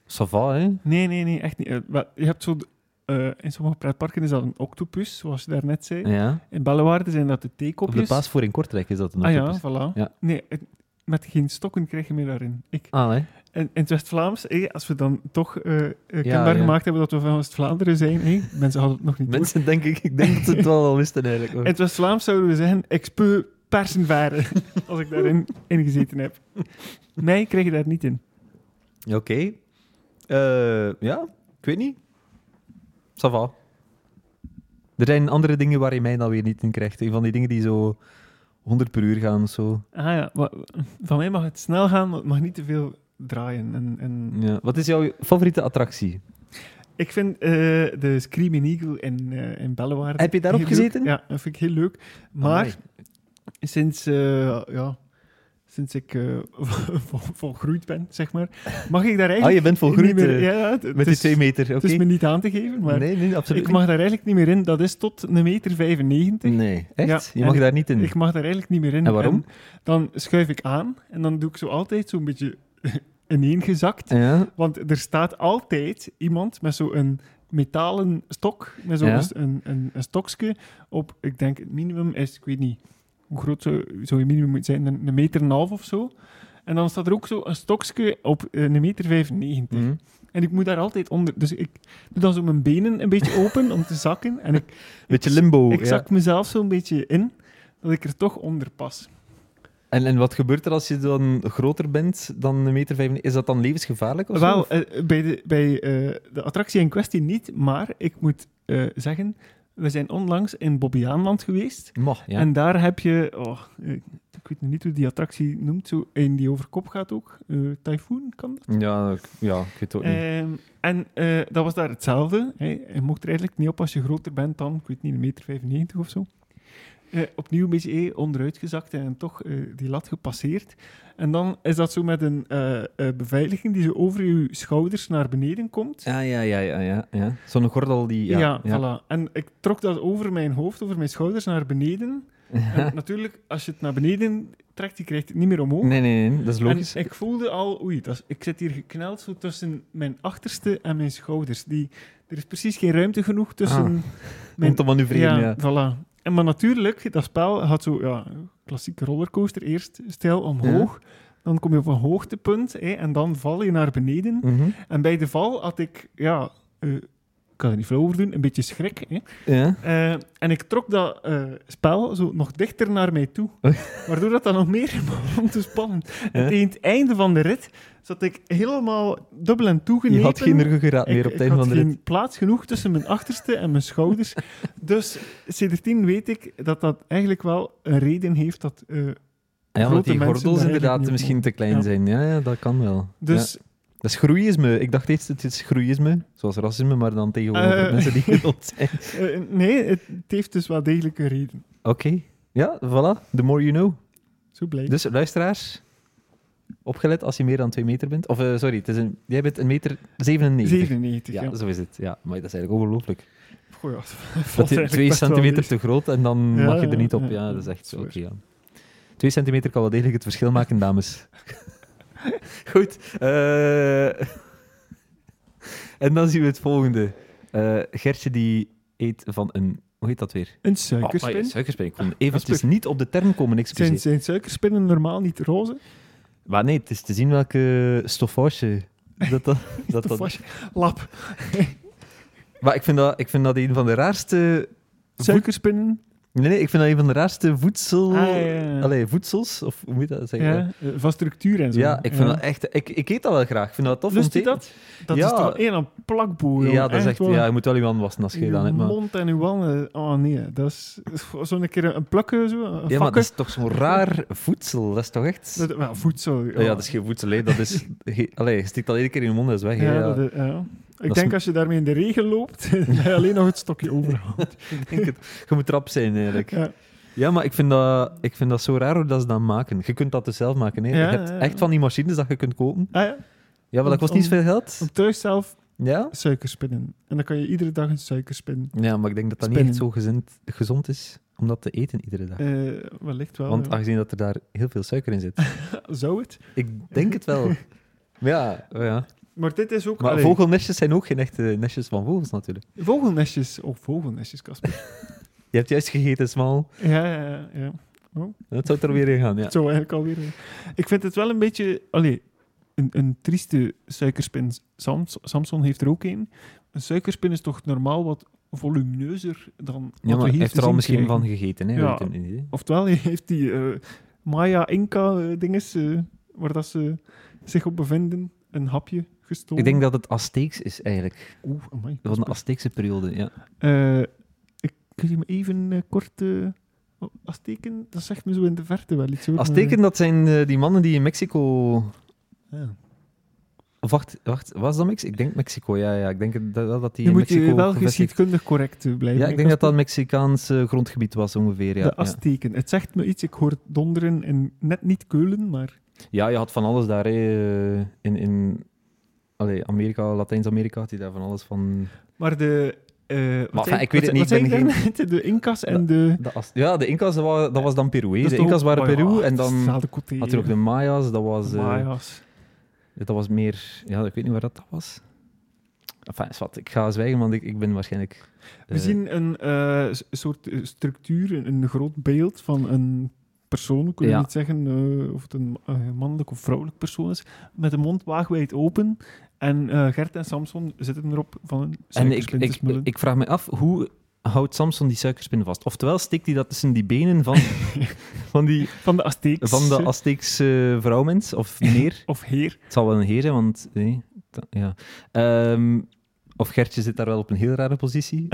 S2: Ça va, hè?
S1: Nee, nee, nee, echt niet. Eh, wel, Je hebt zo... eh, in sommige pretparken is dat een octopus, zoals je daarnet zei.
S2: Ja.
S1: In Bellewaarde zijn dat de
S2: Op de
S1: theekopjes.
S2: paas voor in Kortrijk is dat een
S1: Ah ja,
S2: octopus.
S1: voilà.
S2: Ja.
S1: Nee, het- met geen stokken krijg je mij daarin. Ik,
S2: Ah, hè?
S1: En in het West-Vlaams, eh, als we dan toch eh, eh, kenbaar
S2: ja.
S1: gemaakt hebben dat we van West-Vlaanderen zijn, eh, mensen hadden het nog niet door.
S2: Mensen denk ik, ik denk dat ze het wel al wisten eigenlijk.
S1: In
S2: hoor.
S1: het West-Vlaams zouden we zeggen, expe persenvaren, als ik daarin in gezeten heb. Nee, kreeg je daar niet in.
S2: Oké. Eh, ja, ik weet niet. Ça va. Er zijn andere dingen waar je mij dan weer niet in krijgt. Een van die dingen die zo 100 per uur gaan of zo.
S1: Ah ja, wa- van mij mag het snel gaan, maar het mag niet te veel draaien. En, en...
S2: Ja. Wat is jouw favoriete attractie?
S1: Ik vind eh, de Screaming Eagle in, eh in Bellewaarde...
S2: Heb je daarop
S1: heel leuk.
S2: gezeten?
S1: Ja, dat vind ik heel leuk. Maar
S2: Amai.
S1: sinds, eh, ja, sinds ik eh, vol, volgroeid ben, zeg maar, mag ik daar eigenlijk...
S2: Ah, je bent volgroeid
S1: Niet meer-
S2: eh,
S1: ja, het- het
S2: met die
S1: is-
S2: 2 meter.
S1: Het
S2: Oké.
S1: is me niet aan te geven, maar
S2: nee, nee, absoluut
S1: ik mag daar eigenlijk niet meer in. Dat is tot een meter 95.
S2: niet. Nee, echt?
S1: Ja,
S2: je mag
S1: en
S2: daar niet in.
S1: Ik mag daar eigenlijk niet meer in.
S2: En waarom?
S1: dan schuif ik aan en dan doe ik zo altijd zo'n beetje ineengezakt.
S2: Ja,
S1: Want er staat altijd iemand met zo'n metalen stok, met zo'n
S2: Ja.
S1: een, een, een stokje op, ik denk het minimum is, ik weet niet hoe groot zou, zou je minimum moeten zijn, een, een meter en een half of zo. En dan staat er ook zo'n stokje op eh, een meter 95.
S2: Mhm.
S1: En ik moet daar altijd onder. Dus ik doe dan zo mijn benen een beetje open om te zakken. En ik,
S2: Beetje limbo.
S1: ik
S2: ja.
S1: zak mezelf zo'n beetje in, dat ik er toch onder pas.
S2: En, en wat gebeurt er als je dan groter bent dan een meter 95? Is dat dan levensgevaarlijk of zo?
S1: Wel, eh, bij, de, bij eh, de attractie in kwestie niet, maar ik moet eh, zeggen, we zijn onlangs in Bobbejaanland geweest.
S2: Mag, ja.
S1: En daar heb je, oh, eh, ik weet nu niet hoe die attractie noemt, zo een die over kop gaat ook. Eh typhoon kan dat?
S2: Ja, ik- ja, ik weet het ook niet.
S1: Ehm, en eh, dat was daar hetzelfde. Hè. Je mocht er eigenlijk niet op als je groter bent dan, ik weet niet, een meter 95 of zo. Eh, opnieuw een beetje eh, onderuitgezakt en toch eh, die lat gepasseerd. En dan is dat zo met een eh, eh, beveiliging die zo over je schouders naar beneden komt.
S2: Ah, ja, ja, ja, ja. ja. Zo'n gordel die... Ja,
S1: Eh, voilà. En ik trok dat over mijn hoofd, over mijn schouders naar beneden. En natuurlijk, als je het naar beneden trekt, je krijgt het niet meer omhoog.
S2: Nee, nee, nee, dat is
S1: En
S2: logisch.
S1: ik voelde al, oei, dat is- ik zit hier gekneld zo tussen mijn achterste en mijn schouders. Die, er is precies geen ruimte genoeg tussen
S2: Ah, Om
S1: mijn...
S2: te manoeuvreren, ja.
S1: voilà. En maar natuurlijk, dat spel had zo, ja, klassieke rollercoaster. Eerst stijl omhoog, dan kom je op een hoogtepunt hè, en dan val je naar beneden.
S2: Mhm.
S1: En bij de val had ik, ja, eh, kan er niet flauw over doen, een beetje schrik. Hè?
S2: Ja.
S1: Eh, en ik trok dat eh, spel zo nog dichter naar mij toe. Waardoor dat dan nog meer begon te spannen. En
S2: Ja.
S1: tegen het einde van de rit zat ik helemaal dubbel en toegenepen.
S2: Je had geen ruggengraat meer
S1: Ik-
S2: op het
S1: ik
S2: einde
S1: had
S2: van de rit.
S1: geen plaats genoeg tussen mijn achterste en mijn schouders. dus sindsdien weet ik dat dat eigenlijk wel een reden heeft dat... eh,
S2: Ah Ja, want
S1: grote mensen
S2: die
S1: daar
S2: gordels
S1: eigenlijk
S2: inderdaad
S1: niet op
S2: misschien te klein
S1: Ja.
S2: zijn. Ja, ja, dat kan wel.
S1: dus
S2: Ja. Dat is groeïsme. Ik dacht eerst, het is groeïsme, zoals racisme, maar dan tegenover
S1: Eh.
S2: mensen die gezond zijn.
S1: eh, nee, het, het heeft dus wel degelijk een reden.
S2: Oké. Ja, voilà. The more you know.
S1: Zo blij.
S2: Dus luisteraars, opgelet als je meer dan 2 meter bent. Of eh, sorry, het is een, jij bent een meter 97.
S1: 97,
S2: Ja,
S1: ja.
S2: zo is het. Ja, maar dat is eigenlijk ongelooflijk.
S1: Goh, ja, dat valt
S2: Dat je
S1: eigenlijk
S2: 2
S1: best wel
S2: centimeter
S1: mee.
S2: te groot en dan
S1: Ja,
S2: mag je er
S1: ja,
S2: niet
S1: ja,
S2: op. Ja,
S1: ja,
S2: dat is echt zo.
S1: dat
S2: Oké.
S1: is
S2: ja. 2 centimeter kan wel degelijk het verschil maken, dames. Goed. eh, en dan zien we het volgende. Eh, Gertje die eet van een... Hoe heet dat weer?
S1: Een
S2: Oh,
S1: suikerspin.
S2: ja, suikerspin. Ik kon
S1: dat is
S2: eventjes
S1: leuk.
S2: niet op de term komen,
S1: zijn,
S2: excuseer.
S1: zijn suikerspinnen normaal niet roze?
S2: Maar nee, het is te zien welke stoffage dat dat... dat,
S1: Dat
S2: dat
S1: was lap.
S2: maar ik vind dat, ik vind dat een van de raarste...
S1: Suikerspinnen.
S2: Nee, nee, ik vind dat een van de raarste voedsel...
S1: Ah, ja, ja, ja.
S2: Allee, voedsels, of hoe moet je dat zeggen?
S1: Ja, eh, van structuur en zo.
S2: Ja, ik vind dat echt... Ik, ik eet dat wel graag. Ik vind dat tof
S1: Lust
S2: om
S1: je
S2: te eten.
S1: dat? Dat
S2: Ja.
S1: is toch één aan plakboer.
S2: Ja, dat is echt...
S1: waar.
S2: Ja, je moet wel je handen wassen als je
S1: Uw
S2: dat hebt, maar...
S1: mond en uw wanden. Oh nee, dat is zo'n keer een plukken, zo, een
S2: Ja, maar
S1: vakken.
S2: dat is toch zo'n raar voedsel? Dat is toch echt...
S1: Dat- wel, Oh. voedsel.
S2: Ja, dat is geen voedsel, hè. Dat is... ge- Allee, je stikt dat één keer in je mond en is weg, hè.
S1: Ja,
S2: Ja.
S1: dat is- ja. Ik
S2: is-
S1: denk als je daarmee in de regen loopt, dan heb je alleen nog het stokje over.
S2: Ik denk het. Je moet rap zijn, eigenlijk.
S1: Ja.
S2: Ja, maar ik vind, dat, ik vind dat zo raar hoe dat ze dat maken. Je kunt dat dus zelf maken. Hè?
S1: Ja,
S2: je hebt
S1: ja, ja.
S2: echt van die machines dat je kunt kopen.
S1: Ah, ja.
S2: Ja, maar dat kost
S1: Om-
S2: niet veel geld.
S1: Om thuis zelf
S2: Ja?
S1: suikerspinnen. En dan kan je iedere dag een suikerspin.
S2: ja, maar ik denk dat dat niet
S1: Spinnen.
S2: echt zo gezind, gezond is om dat te eten iedere dag.
S1: Eh wellicht wel.
S2: Want
S1: ja.
S2: aangezien dat er daar heel veel suiker in zit.
S1: Zou het?
S2: Ik denk het wel. Maar Ja, oh ja.
S1: Maar dit is ook...
S2: Maar
S1: allee,
S2: vogelnestjes zijn ook geen echte nestjes van vogels natuurlijk.
S1: Vogelnestjes. Oh, vogelnestjes, Casper.
S2: Je hebt juist gegeten, smal.
S1: ja, ja, ja, ja.
S2: Dat zou er weer in gaan, ja.
S1: Zo eigenlijk alweer. eh. Ik vind het wel een beetje... Allee, een, een trieste suikerspin. Sams- Samson heeft er ook een. Een suikerspin is toch normaal wat volumineuzer dan wat
S2: Ja, maar
S1: we
S2: hij
S1: hier
S2: heeft
S1: te
S2: er al
S1: zien
S2: misschien
S1: krijgen.
S2: van gegeten, hè?
S1: Ja.
S2: Weet het niet, hè.
S1: Oftewel, hij heeft die eh, Maya-Inca-dinges, eh, waar dat ze zich op bevinden, een hapje gestolen.
S2: Ik denk dat het Azteeks is eigenlijk.
S1: Oeh, amai.
S2: Van de Azteekse periode, ja.
S1: Eh, ik, kun je me even eh, kort... eh, oh, Azteken, dat zegt me zo in de verte wel iets. hoor, maar-
S2: Azteken, dat zijn eh, die mannen die in Mexico.
S1: Ja.
S2: Of wacht, wacht, was dat Mexico? Ik denk Mexico, ja, ja. Ik denk dat- dat, dat die
S1: Je
S2: in
S1: moet
S2: Mexico.
S1: je wel
S2: gevestigd-
S1: geschiedkundig correct eh, blijven.
S2: Ja, ik denk dat
S1: Casper.
S2: dat Mexicaans eh, grondgebied was ongeveer. Ja,
S1: de Azteken. Het zegt me iets. Ik hoor donderen en net niet Keulen, maar
S2: ja. ja, je had van alles daar. Hè, eh, in in allee, Amerika, Latijns-Amerika, had je daar van alles van.
S1: maar de. eh, wat
S2: enfin,
S1: zei-
S2: ik weet het
S1: wat-
S2: niet,
S1: wat zei
S2: ik ben
S1: ik daarnet? De Incas en de.
S2: De Ast- ja, de Inca's, dat was, dat was dan Peru. hè.
S1: Dat is
S2: de
S1: toch
S2: Inca's
S1: ook-
S2: waren
S1: oh ja,
S2: Peru
S1: het
S2: en
S1: is
S2: dan
S1: dezelfde côté,
S2: had je ook de Maya's, dat was, eh,
S1: Maya's.
S2: dat was meer. Ja, ik weet niet waar dat, dat was. Enfin, is wat, ik ga zwijgen, want ik, ik ben waarschijnlijk.
S1: We
S2: eh,
S1: zien een eh, s- soort eh, structuur, een, een groot beeld van een persoon. We kunnen
S2: Ja.
S1: niet zeggen eh, of het een eh, mannelijk of vrouwelijk persoon is. Met de mond waagwijd open. En eh, Gert en Samson zitten erop van een
S2: En ik,
S1: suikerspin te
S2: ik,
S1: smullen.
S2: ik vraag me af, hoe houdt Samson die suikerspin vast? Oftewel, steekt hij dat tussen die benen van, van, die,
S1: van de Azteeks.
S2: van de
S1: eh,
S2: Azteekse vrouwmens, of meer?
S1: of heer.
S2: Het zal wel een heer zijn, want... Nee, dat- ja. Ehm, of Gertje zit daar wel op een heel rare positie.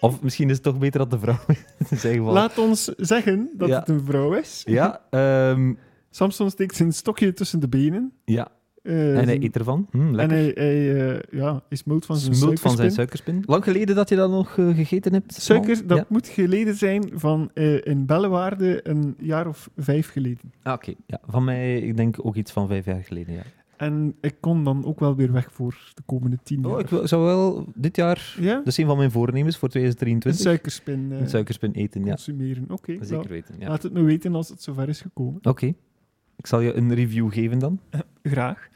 S2: of misschien is het toch beter dat de vrouw in zijn geval...
S1: Laat ons zeggen dat
S2: Ja.
S1: het een vrouw is.
S2: Ja, ehm,
S1: Samson steekt zijn stokje tussen de benen.
S2: ja,
S1: eh,
S2: en hij
S1: zijn-
S2: eet ervan. Hm,
S1: en
S2: lekker.
S1: hij, hij, eh, ja, is moot van zijn
S2: Smult van zijn
S1: suikerspin.
S2: suikerspin. Lang geleden dat je dat nog eh, gegeten hebt.
S1: Suiker, dat
S2: Ja.
S1: moet geleden zijn van eh, in Bellewaarde een jaar of vijf geleden.
S2: Ah, Oké, ja, van mij, ik denk ook iets van vijf jaar geleden, ja.
S1: En ik kon dan ook wel weer weg voor de komende tien jaar.
S2: Oh, ik wil- zou wel dit jaar,
S1: Ja?
S2: dat is een van mijn voornemens voor
S1: Een
S2: 2023,
S1: suikerspin eh,
S2: een suikerspin eten. Ja,
S1: consumeren. Oké, wel,
S2: zeker weten. Ja. Oké,
S1: laat het me weten als het zover is gekomen.
S2: ik zal je een review geven dan.
S1: Graag.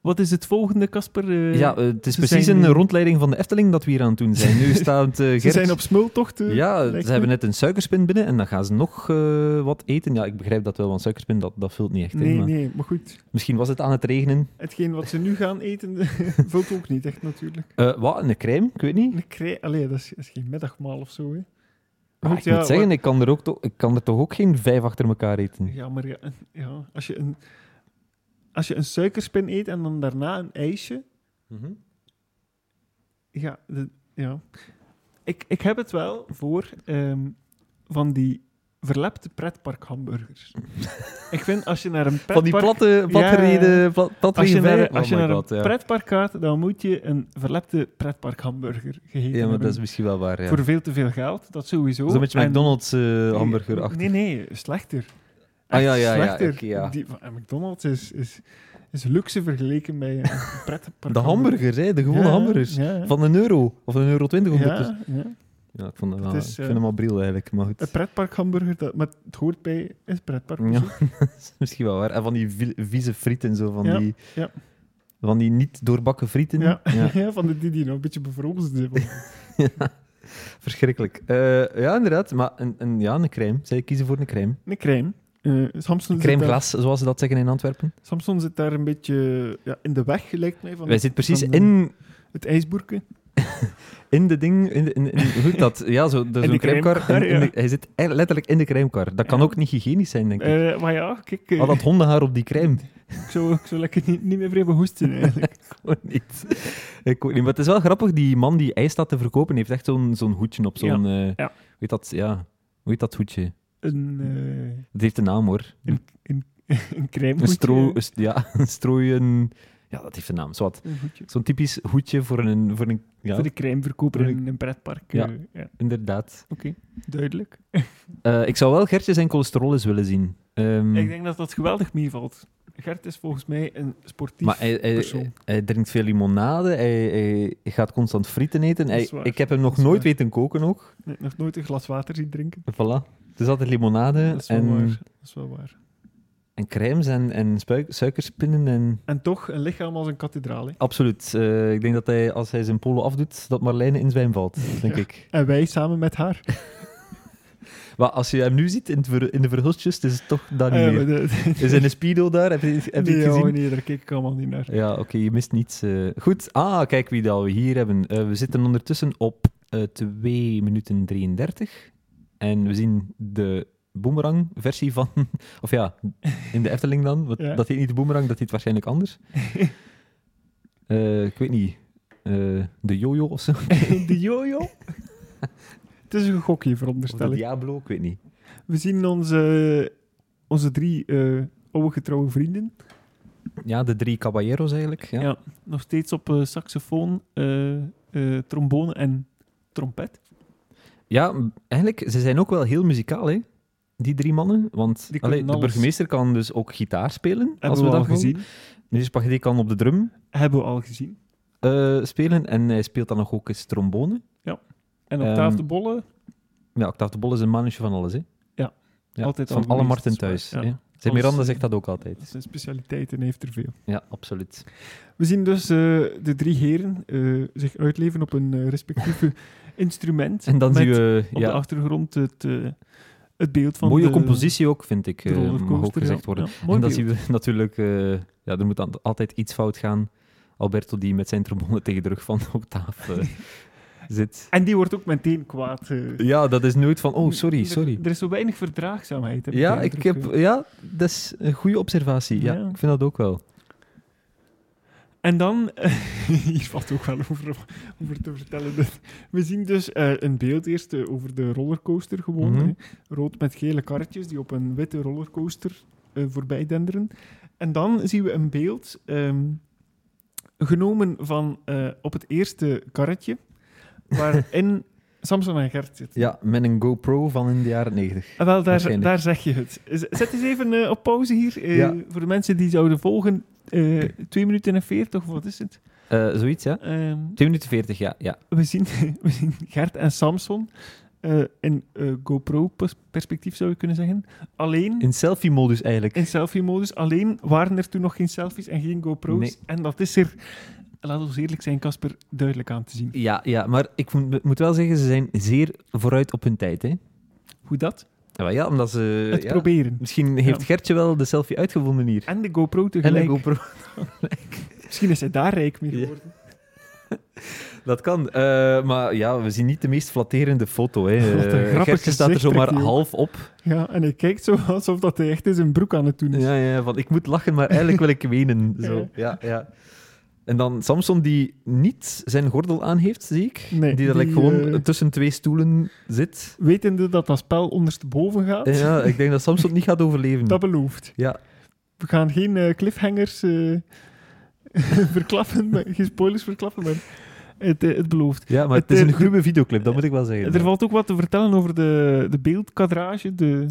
S1: Wat is het volgende, Casper? Eh,
S2: ja, eh, het is
S1: ze
S2: precies
S1: zijn,
S2: een
S1: eh,
S2: rondleiding van de Efteling dat we hier aan het doen zijn. Nu staat eh
S1: ze
S2: Gert-
S1: zijn op smultocht. eh.
S2: Ja,
S1: lijkt
S2: ze hebben
S1: me.
S2: net een suikerspin binnen en dan gaan ze nog eh, wat eten. Ja, ik begrijp dat wel, want suikerspin, dat, dat vult niet echt in.
S1: Nee,
S2: maar
S1: nee, maar goed.
S2: Misschien was het aan het regenen.
S1: Hetgeen wat ze nu gaan eten, vult ook niet echt natuurlijk.
S2: Eh, wat, een crème? Ik weet niet.
S1: Een krij... Allee, dat is, dat is geen middagmaal of zo. Hè.
S2: Maar
S1: Goed,
S2: Ah, ik
S1: ja,
S2: moet zeggen, ik kan, er ook to- ik kan er toch ook geen vijf achter elkaar eten.
S1: Ja, maar ja, en- ja, als, je een, als je een suikerspin eet en dan daarna een ijsje.
S2: Mhm.
S1: Ja, de- ja. Ik, ik heb het wel voor ehm, van die verlepte pretparkhamburgers. ik vind als je naar een pretpark...
S2: Van die platte, platte
S1: Ja, ja, ja.
S2: reden, plat, platte
S1: Als je
S2: reden
S1: naar,
S2: vijf-
S1: als je
S2: oh my
S1: naar
S2: God,
S1: een
S2: ja.
S1: pretpark gaat, dan moet je een verlepte pretparkhamburger gegeten
S2: Ja, maar
S1: hebben.
S2: dat is misschien wel waar, ja.
S1: Voor veel te veel geld, dat sowieso.
S2: Zo'n beetje
S1: En-
S2: McDonald's eh,
S1: Nee,
S2: hamburger achter.
S1: Nee, nee, slechter.
S2: Ah, ja,
S1: Echt
S2: ja, ja,
S1: slechter.
S2: oké, ja.
S1: Die, van- McDonald's is, is, is luxe vergeleken bij een pretpark.
S2: De hamburgers, hè, de gewone hamburgers.
S1: Ja, ja.
S2: Van een euro, of een euro twintig ondertussen.
S1: ja, ja.
S2: Ja, ik, vond dat wel,
S1: Het is,
S2: ik
S1: eh,
S2: vind hem al bril eigenlijk, maar goed.
S1: Een pretparkhamburger, dat, maar het hoort bij is pretpark. dus
S2: Ja, dat is misschien wel waar. En van die vi- vieze frieten, en zo, van,
S1: Ja,
S2: die,
S1: ja.
S2: van die niet doorbakken frieten.
S1: Ja.
S2: Ja,
S1: Ja, van de die die nog een beetje bevroren zijn.
S2: verschrikkelijk. Eh, ja, inderdaad. Maar een, een, ja, een crème. Zij kiezen voor een crème.
S1: Een crème. Eh, Samson,
S2: Een
S1: zit
S2: crème
S1: daar,
S2: glas, zoals ze dat zeggen in Antwerpen.
S1: Samson zit daar een beetje ja, in de weg, lijkt mij, van
S2: Wij zitten precies
S1: van, eh,
S2: in,
S1: het ijsboerken.
S2: in de ding... In de, in, in- hoe heet dat? Ja, zo, dus
S1: de
S2: een crèmekar.
S1: crèmekar,
S2: in- in de-
S1: ja.
S2: Hij zit eigenlijk letterlijk in de crèmekar. Dat kan
S1: Ja.
S2: ook niet hygiënisch zijn, denk ik.
S1: Eh, maar ja, kijk, eh,
S2: Al dat hondenhaar op die crème.
S1: ik, zou, ik zou lekker niet, niet meer vreemd hoesten eigenlijk.
S2: Gewoon niet. Ik ook niet. Maar het is wel grappig, die man die ijs staat te verkopen, heeft echt zo'n zo'n hoedje op. Zo'n, eh,
S1: ja.
S2: Weet dat, ja. Hoe heet dat hoedje?
S1: Een, eh,
S2: Het heeft een naam hoor.
S1: Een een crème.
S2: Een stro, een st- ja, een strooien. Ja, dat heeft een naam. Zwat.
S1: Een hoedje.
S2: Zo'n typisch hoedje voor een. Voor een ja,
S1: Voor de crèmeverkoper
S2: Voor
S1: in een pretpark.
S2: Ja.
S1: eh, ja.
S2: inderdaad.
S1: Oké, duidelijk.
S2: Eh, ik zou wel Gertje zijn cholesterol eens willen zien. Ehm,
S1: Ik denk dat dat geweldig meevalt. Gert is volgens mij een sportief
S2: maar hij, hij-
S1: persoon.
S2: hij drinkt veel limonade, hij, hij gaat constant frieten eten.
S1: Dat is
S2: Hij,
S1: waar.
S2: ik heb hem nog
S1: Dat is
S2: nooit
S1: waar.
S2: weten koken ook.
S1: Nee, nog nooit een glas water zien drinken.
S2: Voilà. Het is altijd limonade
S1: Dat is wel, waar.
S2: Eh, en,
S1: Dat is wel waar.
S2: en crèmes en, en spuik- suikerspinnen en...
S1: En toch een lichaam als een kathedraal. hè.
S2: Absoluut. Eh, ik denk dat hij, als hij zijn polo afdoet, dat Marlijne in zwijm valt, denk
S1: Ja.
S2: ik.
S1: En wij samen met haar.
S2: Maar als je hem nu ziet in, het ver- in de verhulstjes, het is het toch dat niet
S1: Eh,
S2: meer.
S1: maar dat-
S2: Is in de speedo daar, heb je, heb je
S1: nee,
S2: het
S1: oh,
S2: gezien?
S1: nee, daar kijk ik allemaal niet naar.
S2: Ja, oké, je mist niets. eh. goed, ah, kijk wie dat we hier hebben. Eh, we zitten ondertussen op eh 2 minuten 33. En we zien de boomerang-versie van... Of ja, in de Efteling dan. want
S1: Ja.
S2: Dat heet niet de boomerang, dat heet waarschijnlijk anders. Eh, ik weet niet. Eh, de jojo of zo.
S1: De jojo? Het is een gokje,
S2: Of de
S1: veronderstel ik.
S2: Diablo, ik weet niet.
S1: We zien onze, onze drie eh, oude getrouwe vrienden.
S2: Ja, de drie caballeros eigenlijk. Ja.
S1: Ja. Nog steeds op eh, saxofoon, eh, eh, trombone en trompet.
S2: Ja, m- eigenlijk, ze zijn ook wel heel muzikaal, hè? Die drie mannen. Want
S1: Die
S2: allee,
S1: kunnen
S2: de
S1: alles.
S2: burgemeester kan dus ook gitaar spelen.
S1: Hebben
S2: als
S1: we,
S2: we,
S1: al
S2: dat mogen.
S1: gezien.
S2: Meneer Spaghetti kan op de drum
S1: Hebben we al gezien.
S2: eh, spelen. En hij speelt dan nog ook eens trombone.
S1: En
S2: Ehm,
S1: Octaaf de Bolle,
S2: Ja, Octave de Bol is een mannetje van alles, hè?
S1: Ja. Altijd al
S2: van alle
S1: geweest,
S2: Marten
S1: dat is
S2: thuis.
S1: waar,
S2: hè.
S1: ja.
S2: Zijn
S1: Alles- eh,
S2: Miranda zegt dat ook altijd.
S1: dat zijn specialiteit en hij heeft er veel.
S2: Ja, absoluut.
S1: We zien dus eh, de drie heren eh, zich uitleven op een eh, respectieve instrument.
S2: En dan
S1: met
S2: zien we
S1: op
S2: ja,
S1: de achtergrond het, eh, het beeld van
S2: mooie
S1: de-
S2: compositie ook, vind ik.
S1: de
S2: eh, mag ook
S1: rollercoaster,
S2: gezegd
S1: ja.
S2: worden.
S1: Ja, mooi
S2: en dan
S1: beeld.
S2: zien we natuurlijk, eh, ja, er moet dan altijd iets fout gaan. Alberto die met zijn trombone tegen de rug van Octave eh, zit.
S1: En die wordt ook meteen kwaad. eh.
S2: Ja, dat is nooit van, oh, sorry,
S1: Er-
S2: sorry.
S1: Er, is zo weinig verdraagzaamheid. heb
S2: Ja,
S1: de
S2: ik
S1: indruk,
S2: heb,
S1: eh.
S2: ja, dat is een goede observatie. Ja,
S1: Ja.
S2: ik vind dat ook wel.
S1: En dan, hier valt ook wel over, over te vertellen. dat- We zien dus eh, een beeld eerst eh, over de rollercoaster gewoon.
S2: Mhm.
S1: hè. Rood met gele karretjes die op een witte rollercoaster eh, voorbij denderen. En dan zien we een beeld ehm, genomen van eh, op het eerste karretje, waarin Samson en Gert zitten.
S2: Ja, met een GoPro van in de jaren 90.
S1: Ah, wel, daar,
S2: Waarschijnlijk.
S1: daar zeg je het. Z- Zet eens even eh, op pauze hier. eh,
S2: Ja.
S1: Voor de mensen die zouden volgen, eh 2 minuten en 40, of wat is het?
S2: Eh, zoiets, ja.
S1: Ehm,
S2: 2 minuten 40, ja. ja.
S1: we zien, we zien Gert en Samson eh, in eh, GoPro-perspectief zou je kunnen zeggen. Alleen in,
S2: In selfie-modus eigenlijk.
S1: selfie-modus. Alleen waren er toen nog geen selfies en geen GoPro's.
S2: Nee.
S1: En dat is er, laten we eerlijk zijn, Casper, duidelijk aan te zien.
S2: Ja, ja, maar ik moet, moet wel zeggen, ze zijn zeer vooruit op hun tijd. Hè?
S1: Hoe dat?
S2: Ja, maar ja, omdat ze...
S1: Het
S2: Eh, ja,
S1: proberen.
S2: Misschien heeft
S1: Ja.
S2: Gertje wel de selfie uitgevonden hier.
S1: En de GoPro
S2: En de
S1: tegelijk.
S2: GoPro.
S1: Misschien is hij daar rijk mee
S2: Ja.
S1: geworden.
S2: Dat kan. Eh, maar ja, we zien niet de meest flatterende foto. Hè.
S1: Wat een
S2: Eh,
S1: grappig
S2: Gertje staat er
S1: gezicht
S2: zomaar
S1: trekt hij ook.
S2: half op.
S1: Ja. en hij kijkt zo alsof dat hij echt in zijn broek aan het doen is.
S2: Ja, ja, Dus, van ik moet lachen, maar eigenlijk wil ik wenen. Zo.
S1: Ja.
S2: Ja, ja. En dan Samson die niet zijn gordel aan heeft, zie ik.
S1: Nee,
S2: die er like,
S1: die,
S2: gewoon
S1: eh,
S2: tussen twee stoelen zit.
S1: Wetende dat dat spel ondersteboven gaat,
S2: Eh, Ja, ik denk dat Samson niet gaat overleven.
S1: dat belooft.
S2: Ja,
S1: We gaan geen eh, cliffhangers eh, verklappen, maar- geen spoilers verklappen, maar het, eh, het belooft.
S2: ja maar het,
S1: Het,
S2: is
S1: eh,
S2: een gruwe videoclip, dat moet ik wel zeggen.
S1: Er valt ook wat te vertellen over de, de beeldkadrage. De,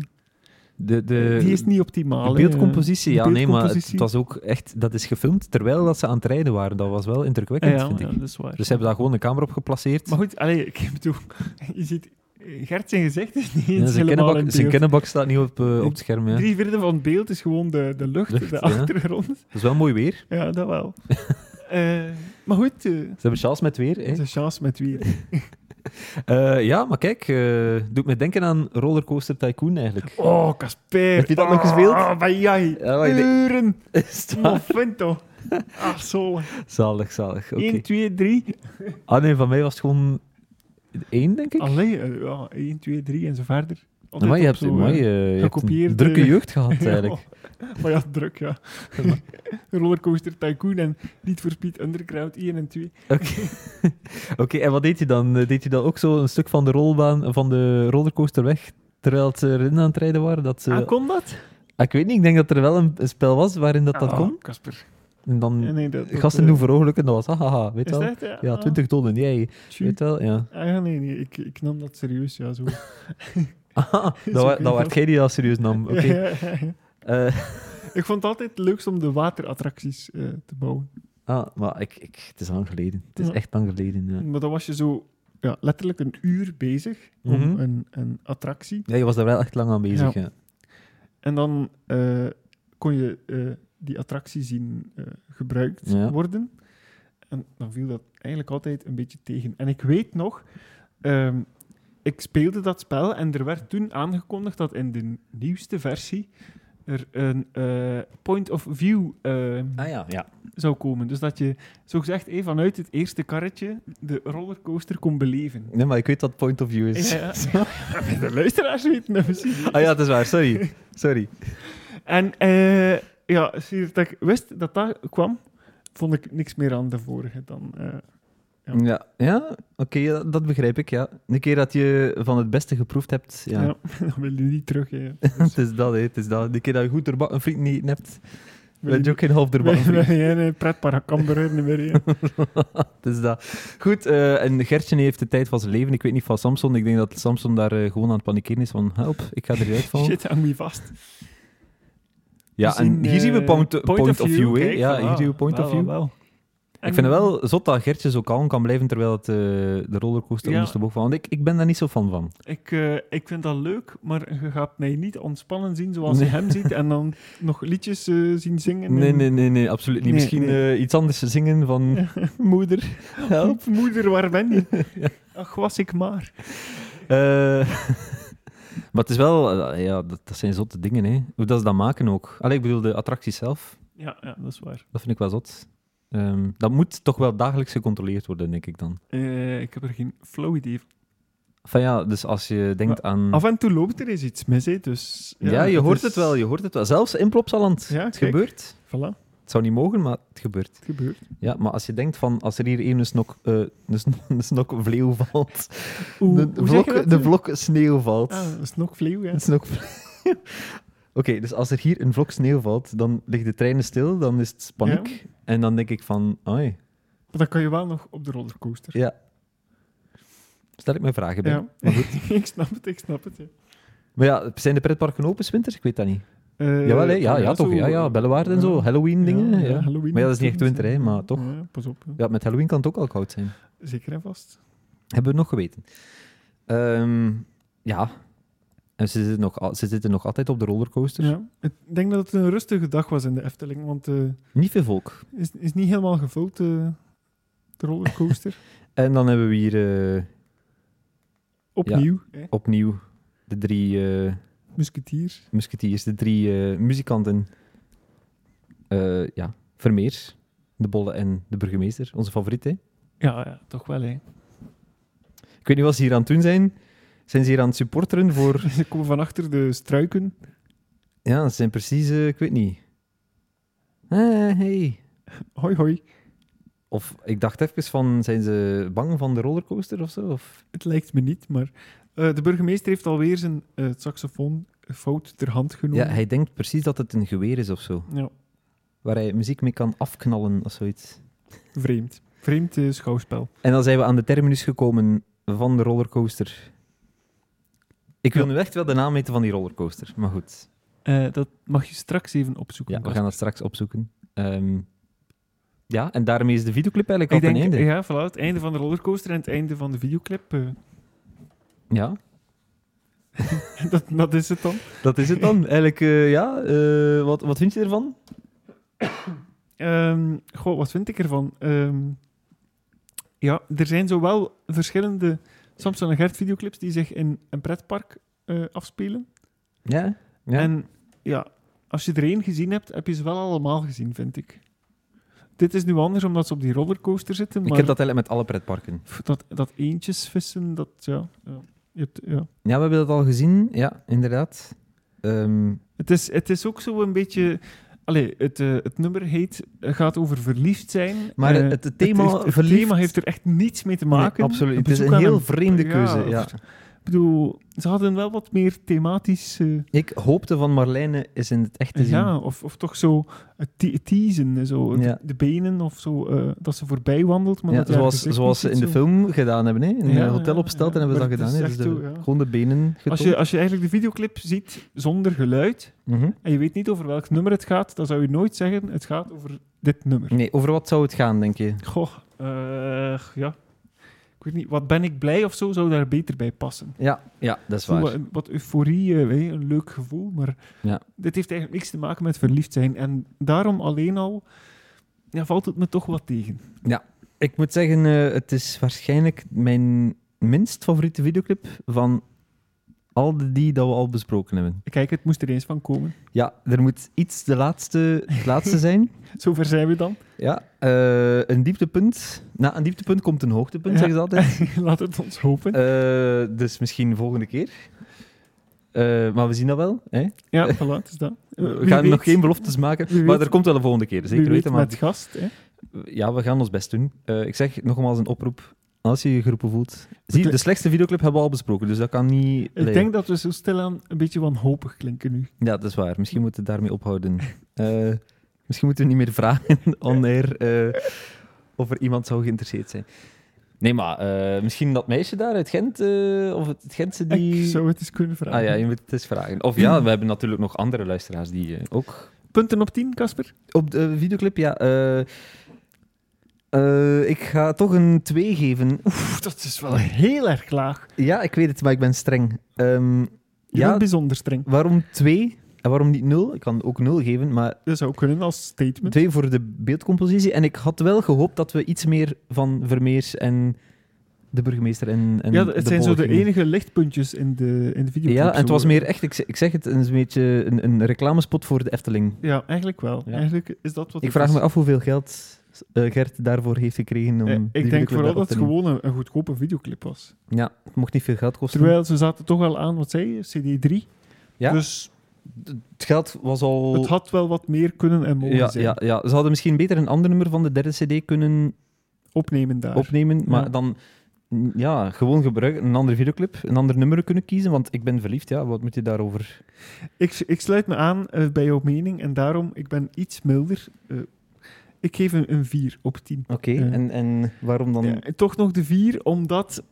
S2: de, de,
S1: die is niet optimaal.
S2: de
S1: hè.
S2: beeldcompositie,
S1: de
S2: ja, nee, maar het,
S1: beeldcompositie.
S2: was ook echt... Dat is gefilmd terwijl dat ze aan het rijden waren. Dat was wel
S1: Eh,
S2: indrukwekkend,
S1: ja,
S2: vind ik.
S1: ja, dat is waar.
S2: Dus ze hebben daar gewoon een camera op geplaatseerd.
S1: Maar goed, allee, ik bedoel, je ziet, eh, Gert zijn gezicht is niet
S2: Ja,
S1: eens helemaal in
S2: zijn, kennenbak, zijn
S1: beeld.
S2: kennenbak staat niet op, eh, op het scherm. Ja.
S1: Drie vierde van het beeld is gewoon de, de lucht,
S2: Lucht, ja.
S1: de achtergrond.
S2: Dat is wel mooi weer.
S1: Ja, dat wel. Eh, maar goed, eh,
S2: Ze hebben Charles met weer. Hè.
S1: het is een chance met wie.
S2: Eh, ja, maar kijk, eh, doet me denken aan Rollercoaster Tycoon eigenlijk.
S1: Oh, Casper.
S2: Heb je dat
S1: Ah,
S2: nog gespeeld?
S1: Bij jij.
S2: Ja, maar ik denk-
S1: Uren.
S2: Sta-
S1: Moffento. Ah, zo.
S2: zalig, zalig. Oké.
S1: 1, 2, 3.
S2: Ah nee, van mij was het gewoon één, denk ik.
S1: Allee, eh, ja, 1, 2, 3 en zo verder. Altijd
S2: maar je
S1: op
S2: hebt,
S1: zo, eh,
S2: mooi, eh, je hebt een
S1: gekopieerd,
S2: drukke
S1: eh,
S2: jeugd gehad eigenlijk.
S1: ja. Maar ja, druk, ja. Rollercoaster Tycoon en Need for Speed Underground 1 en 2.
S2: Oké, en wat deed je dan? Eh, Deed je dan ook zo een stuk van de rolbaan, van de rollercoaster weg, terwijl ze erin aan het rijden waren? Dat ze...
S1: Ah, kon dat?
S2: Ah, ik weet niet, ik denk dat er wel een, een spel was waarin dat, dat
S1: Ah,
S2: kon.
S1: Casper.
S2: En dan
S1: Ja, nee, dat, dat,
S2: gasten
S1: eh,
S2: doen veroorlijken, dat was hahaha, weet
S1: Is
S2: je wel.
S1: dat? Ja,
S2: Ja,
S1: ah,
S2: 20 dollar, jij.
S1: tjoe.
S2: Weet wel, ja.
S1: Ah, ja, nee, nee ik, ik nam dat serieus, ja, zo.
S2: Aha,
S1: Is
S2: dat,
S1: ook
S2: wa-
S1: niet
S2: dat werd
S1: wat.
S2: jij die dat serieus nam. Oké.
S1: Ja, ja, ja, ja.
S2: Eh,
S1: Ik vond het altijd het leukst om de waterattracties eh, te bouwen.
S2: ah, maar ik, ik, het is lang geleden. Het is
S1: Ja.
S2: echt lang geleden. Ja.
S1: Maar dan was je zo ja, letterlijk een uur bezig om
S2: Mhm.
S1: een, een attractie.
S2: ja, je was daar wel echt lang aan bezig. Ja.
S1: Ja. En dan eh, kon je eh, die attractie zien eh, gebruikt
S2: Ja.
S1: worden. En dan viel dat eigenlijk altijd een beetje tegen. En ik weet nog, ehm, ik speelde dat spel en er werd toen aangekondigd dat in de nieuwste versie er een eh, point of view ehm,
S2: Ah ja, ja.
S1: zou komen. Dus dat je, zogezegd, eh, vanuit het eerste karretje de rollercoaster kon beleven.
S2: Nee, maar ik weet dat point of view is.
S1: Ja, ja. de luisteraars weten dat misschien niet.
S2: Ah ja, dat is waar, sorry. Sorry.
S1: En eh, ja, sinds dat ik wist dat dat kwam, vond ik niks meer aan de vorige dan... eh, Ja.
S2: Ja, ja? oké, ja, dat begrijp ik, ja. De keer dat je van het beste geproefd hebt, ja.
S1: ja. dan wil je niet terug. Hè.
S2: het is dat, hè, het is dat. De keer dat je goed doorbakken friet niet hebt,
S1: Wil
S2: ben je
S1: je
S2: ook geen
S1: wil
S2: half doorbakken
S1: je-
S2: friet.
S1: wil je een pretpark Cambuur niet meer hè.
S2: Het is Dus dat. Goed, eh, en Gertje heeft de tijd van zijn leven. Ik weet niet van Samson. Ik denk dat Samson daar eh, gewoon aan het panikeren is van help, ik ga eruit vallen.
S1: Shit, hang me vast.
S2: Ja,
S1: We
S2: en
S1: zien,
S2: hier zien we
S1: eh,
S2: point, point of view. hè.
S1: kijk,
S2: ja,
S1: voilà.
S2: hier zien we point
S1: Wel,
S2: of view.
S1: wel, wel.
S2: Ik
S1: En-
S2: vind het wel zot dat Gertje zo kalm kan blijven terwijl het, eh, de rollercoaster
S1: Ja.
S2: ondersteboven valt. Want ik, ik ben daar niet zo fan van.
S1: Ik, eh, ik vind dat leuk, maar je gaat mij niet ontspannen zien zoals je
S2: Nee.
S1: hem ziet en dan nog liedjes eh, zien zingen.
S2: Nee,
S1: en-
S2: nee, nee, nee absoluut niet.
S1: Nee,
S2: Misschien
S1: nee.
S2: eh, iets anders zingen van moeder, help.
S1: Oep, moeder, waar ben je? Ach, was ik maar.
S2: Eh, maar het is wel... eh, ja, dat, dat zijn zotte dingen, hè. Hoe dat ze dat maken ook. Allee, ik bedoel, de attractie zelf.
S1: Ja, ja dat is waar.
S2: Dat vind ik wel zot. Ehm, dat moet toch wel dagelijks gecontroleerd worden, denk ik dan.
S1: Eh, ik heb er geen flow idee van.
S2: Van ja, dus als je denkt aan...
S1: Af en toe loopt er eens iets mis, hè, dus...
S2: Hm. ja, je hoort
S1: is-
S2: het wel, je hoort het wel. Zelfs in Plopsaland.
S1: Ja,
S2: het
S1: kijk.
S2: gebeurt.
S1: Voilà,
S2: Het zou niet mogen, maar het gebeurt.
S1: het gebeurt.
S2: Ja, maar als je denkt van, als er hier één een snok, eh, een snok, een snok vleeuw valt,
S1: Hoe,
S2: de,
S1: hoe zeg je
S2: vlok,
S1: dat?
S2: de vlok sneeuw valt.
S1: Ah, een snokvleeuw, ja.
S2: Een snok vleeuw. Oké, dus als er hier een vlok sneeuw valt, dan liggen de treinen stil, dan is het paniek. En dan denk ik van, oei,
S1: Maar dan kan je wel nog op de rollercoaster.
S2: ja. Stel ik mijn vragen bij.
S1: Ja,
S2: Maar
S1: ik snap het, ik snap het, ja.
S2: Maar ja, zijn de pretparken open 's winters? Ik weet dat niet.
S1: Eh,
S2: Jawel, hè? ja, ja,
S1: zo- eh,
S2: toch. Ja, ja, Bellewaard en zo.
S1: Ja,
S2: Halloween-dingen. Ja,
S1: ja, Halloween
S2: Maar ja, dat is niet echt
S1: natuurlijk,
S2: winter, hè, maar toch.
S1: Ja, pas op. ja.
S2: Ja, met Halloween kan het ook al koud zijn.
S1: Zeker en vast.
S2: Hebben we nog geweten. Eh, Ehm, ja. En ze zitten, nog, al- ze zitten nog altijd op de rollercoaster.
S1: Ja. Ik denk dat het een rustige dag was in de Efteling, want eh,
S2: Niet veel volk.
S1: is, is niet helemaal gevuld, eh, de rollercoaster.
S2: En dan hebben we hier eh,
S1: Opnieuw, hè,
S2: opnieuw de drie eh
S1: musketiers.
S2: musketiers, de drie eh, muzikanten. Eh, ja, Vermeers, De Bolle en de burgemeester. Onze favoriet, hè?
S1: Ja, ja, toch wel, hè.
S2: Ik weet niet wat ze hier aan het doen zijn. Zijn ze hier aan het supporteren voor...
S1: Ze komen van achter de struiken.
S2: Ja, ze zijn precies... eh, ik weet niet. Eh, hey.
S1: Hoi, hoi.
S2: Of ik dacht even van, zijn ze bang van de rollercoaster of zo? Of...
S1: Het lijkt me niet, maar... eh, de burgemeester heeft alweer zijn eh, saxofoon fout ter hand genomen.
S2: Ja, hij denkt precies dat het een geweer is of zo.
S1: Ja,
S2: Waar hij muziek mee kan afknallen of zoiets.
S1: vreemd. Vreemd eh, schouwspel.
S2: En dan zijn we aan de terminus gekomen van de rollercoaster. Ik wil
S1: Ja.
S2: nu echt wel de naam weten van die rollercoaster. Maar goed,
S1: Eh, dat mag je straks even opzoeken.
S2: ja, we
S1: Bas.
S2: gaan dat straks opzoeken. Ehm, ja, en daarmee is de videoclip eigenlijk
S1: Ik
S2: al ten
S1: denk,
S2: einde. Ja.
S1: ja, voilà, het einde van de rollercoaster en het einde van de videoclip. eh, dat, dat is het dan.
S2: dat is het dan. Eigenlijk, eh, ja, eh, wat, wat vind je ervan?
S1: Ehm, goh, wat vind ik ervan? Ehm, ja, er zijn zowel verschillende Samson en Gert videoclips die zich in een pretpark eh, afspelen.
S2: Ja? ja.
S1: En ja, als je er één gezien hebt, heb je ze wel allemaal gezien, vind ik. Dit is nu anders omdat ze op die rollercoaster zitten. Maar
S2: Ik heb dat eigenlijk met alle pretparken.
S1: pff, dat, dat eentjes vissen, dat ja. ja, je hebt, ja.
S2: Ja, we hebben dat al gezien. Ja, inderdaad. Ehm,
S1: Het, is, het is ook zo een beetje. Allee, het, eh, het nummer heet, eh, gaat over verliefd zijn.
S2: Maar
S1: Eh,
S2: het- het thema
S1: heeft, het
S2: verliefd-
S1: thema heeft er echt niets mee te maken.
S2: nee, absoluut. Het is
S1: bezoek
S2: een
S1: aan
S2: heel
S1: een-
S2: vreemde
S1: ja,
S2: keuze. Ja,
S1: of- Ik bedoel, ze hadden wel wat meer thematisch. eh,
S2: Ik hoopte van Marlijne is in het echt te zien.
S1: ja, of, of toch zo eh, te- teasen. eh, Zo,
S2: Ja.
S1: de, de benen of zo. eh, dat ze voorbij wandelt. Maar
S2: Ja,
S1: dat haar
S2: zoals
S1: gezicht
S2: zoals
S1: niet
S2: ze in
S1: zo-
S2: de film gedaan hebben. Hè? In
S1: Ja,
S2: een hotel
S1: ja,
S2: op Stelten
S1: ja.
S2: hebben ze
S1: Maar het
S2: dat gedaan. Hè?
S1: is
S2: Dus
S1: echt
S2: de,
S1: zo, ja.
S2: Gewoon de benen
S1: Als
S2: getoond.
S1: je, als je eigenlijk de videoclip ziet zonder geluid.
S2: Mhm.
S1: en je weet niet over welk nummer het gaat. dan zou je nooit zeggen: het gaat over dit nummer.
S2: Nee, over wat zou het gaan, denk je?
S1: Goh, eh, ja. Ik weet niet, wat ben ik blij of zo zou daar beter bij passen.
S2: Ja, ja dat is
S1: Zo
S2: waar.
S1: Wat, wat euforie, eh, hè, een leuk gevoel, maar
S2: Ja.
S1: dit heeft eigenlijk niks te maken met verliefd zijn. En daarom alleen al ja, valt het me toch wat tegen.
S2: Ik moet zeggen, eh, het is waarschijnlijk mijn minst favoriete videoclip van al de die dat we al besproken hebben.
S1: Kijk, het moest er eens van komen.
S2: Ja, er moet iets de laatste, het laatste zijn.
S1: Zover zijn we dan.
S2: Ja, eh, een dieptepunt. Na een dieptepunt komt een
S1: Ja.
S2: hoogtepunt, zeggen ze altijd.
S1: Laat het ons hopen.
S2: Eh, dus misschien volgende keer. Eh, maar we zien dat wel. Hè?
S1: ja, voilà, het is dat. Eh,
S2: We
S1: wie
S2: gaan
S1: weet-
S2: nog geen beloftes maken,
S1: Wie
S2: maar
S1: weet-
S2: er komt wel een volgende keer. dus
S1: wie
S2: Zeker
S1: weet
S2: weten. Maar
S1: met gast. Hè.
S2: ja, we gaan ons best doen. Eh, ik zeg nogmaals een oproep. Als je je geroepen voelt. Zie,
S1: Het-
S2: de slechtste videoclip hebben we al besproken, dus dat kan niet.
S1: Ik
S2: leiden.
S1: denk dat we zo stilaan een beetje wanhopig klinken nu.
S2: Ja, dat is waar. Misschien moeten we daarmee ophouden. Eh, misschien moeten we niet meer vragen on air eh, of er iemand zou geïnteresseerd zijn. Nee, maar eh, misschien dat meisje daar uit Gent, eh, of het het Gentse die...
S1: Ik zou het eens kunnen vragen.
S2: Ah ja, je moet het eens vragen. Of ja, we hebben natuurlijk nog andere luisteraars die eh, ook...
S1: Punten op 10, Casper?
S2: Op de videoclip, ja. eh, eh, ik ga toch een 2 geven.
S1: Oef, dat is wel heel erg laag.
S2: Ja, ik weet het, maar ik ben streng. Ehm,
S1: Je
S2: ja,
S1: bent bijzonder streng.
S2: waarom 2 en waarom niet 0? Ik kan ook 0 geven, maar
S1: Dat zou kunnen als statement.
S2: Twee voor de beeldcompositie. En ik had wel gehoopt dat we iets meer van Vermeers en de burgemeester en, en
S1: ja, het zijn zo de
S2: Bolgingen-
S1: enige lichtpuntjes in de, in de video.
S2: Ja, en het was meer echt, ik, ze- ik zeg het, een beetje een, een reclamespot voor de Efteling.
S1: Ja, eigenlijk wel.
S2: Ja.
S1: Eigenlijk is dat wat
S2: Ik
S1: het
S2: vraag
S1: is.
S2: me af hoeveel geld eh, Gert daarvoor heeft gekregen
S1: Eh,
S2: om die
S1: ik denk
S2: videoclip
S1: vooral
S2: daar
S1: dat
S2: op te
S1: het
S2: nemen.
S1: gewoon een, een goedkope videoclip was.
S2: Ja, het mocht niet veel geld kosten.
S1: Terwijl ze zaten toch wel aan, wat zei je, CD3.
S2: Ja.
S1: Dus
S2: Het geld was al...
S1: het had wel wat meer kunnen en mogen
S2: ja,
S1: zijn.
S2: ja, ja, ze hadden misschien beter een ander nummer van de derde cd kunnen
S1: Opnemen daar.
S2: opnemen. Maar
S1: Ja.
S2: dan mm, ja, gewoon gebruiken, een andere videoclip, een ander nummer kunnen kiezen. Want ik ben verliefd, ja, wat moet je daarover?
S1: Ik, ik sluit me aan eh, bij jouw mening en daarom, ik ben iets milder. Eh, ik geef een, een 4 op 10.
S2: Oké,
S1: Ja.
S2: en, en waarom dan?
S1: Ja, en toch nog de vier, omdat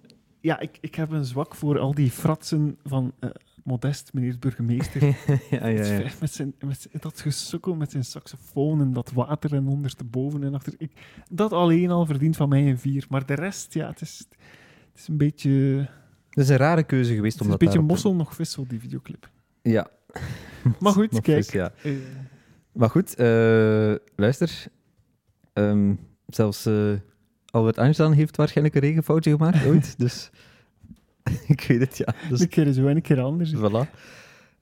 S1: ja, ik, ik heb een zwak voor al die fratsen van eh, Modest, meneer de burgemeester.
S2: ja, ja, ja.
S1: Met, zijn, met zijn- dat gesukkel met zijn saxofoon en dat water en ondersteboven en achter. Ik, dat alleen al verdient van mij een vier. Maar de rest, ja, het is, het is een beetje
S2: Dat is een rare keuze geweest.
S1: Het is
S2: om
S1: een
S2: dat
S1: beetje
S2: daarop-
S1: mossel nog vissel, die videoclip.
S2: Ja.
S1: Maar goed,
S2: Nog
S1: kijk.
S2: vis, ja.
S1: eh,
S2: Maar goed, eh, luister. Ehm, zelfs eh, Albert Einstein heeft waarschijnlijk een regenfoutje gemaakt ooit. dus ik weet het, ja. Dus,
S1: een keer zo en een keer anders.
S2: voilà.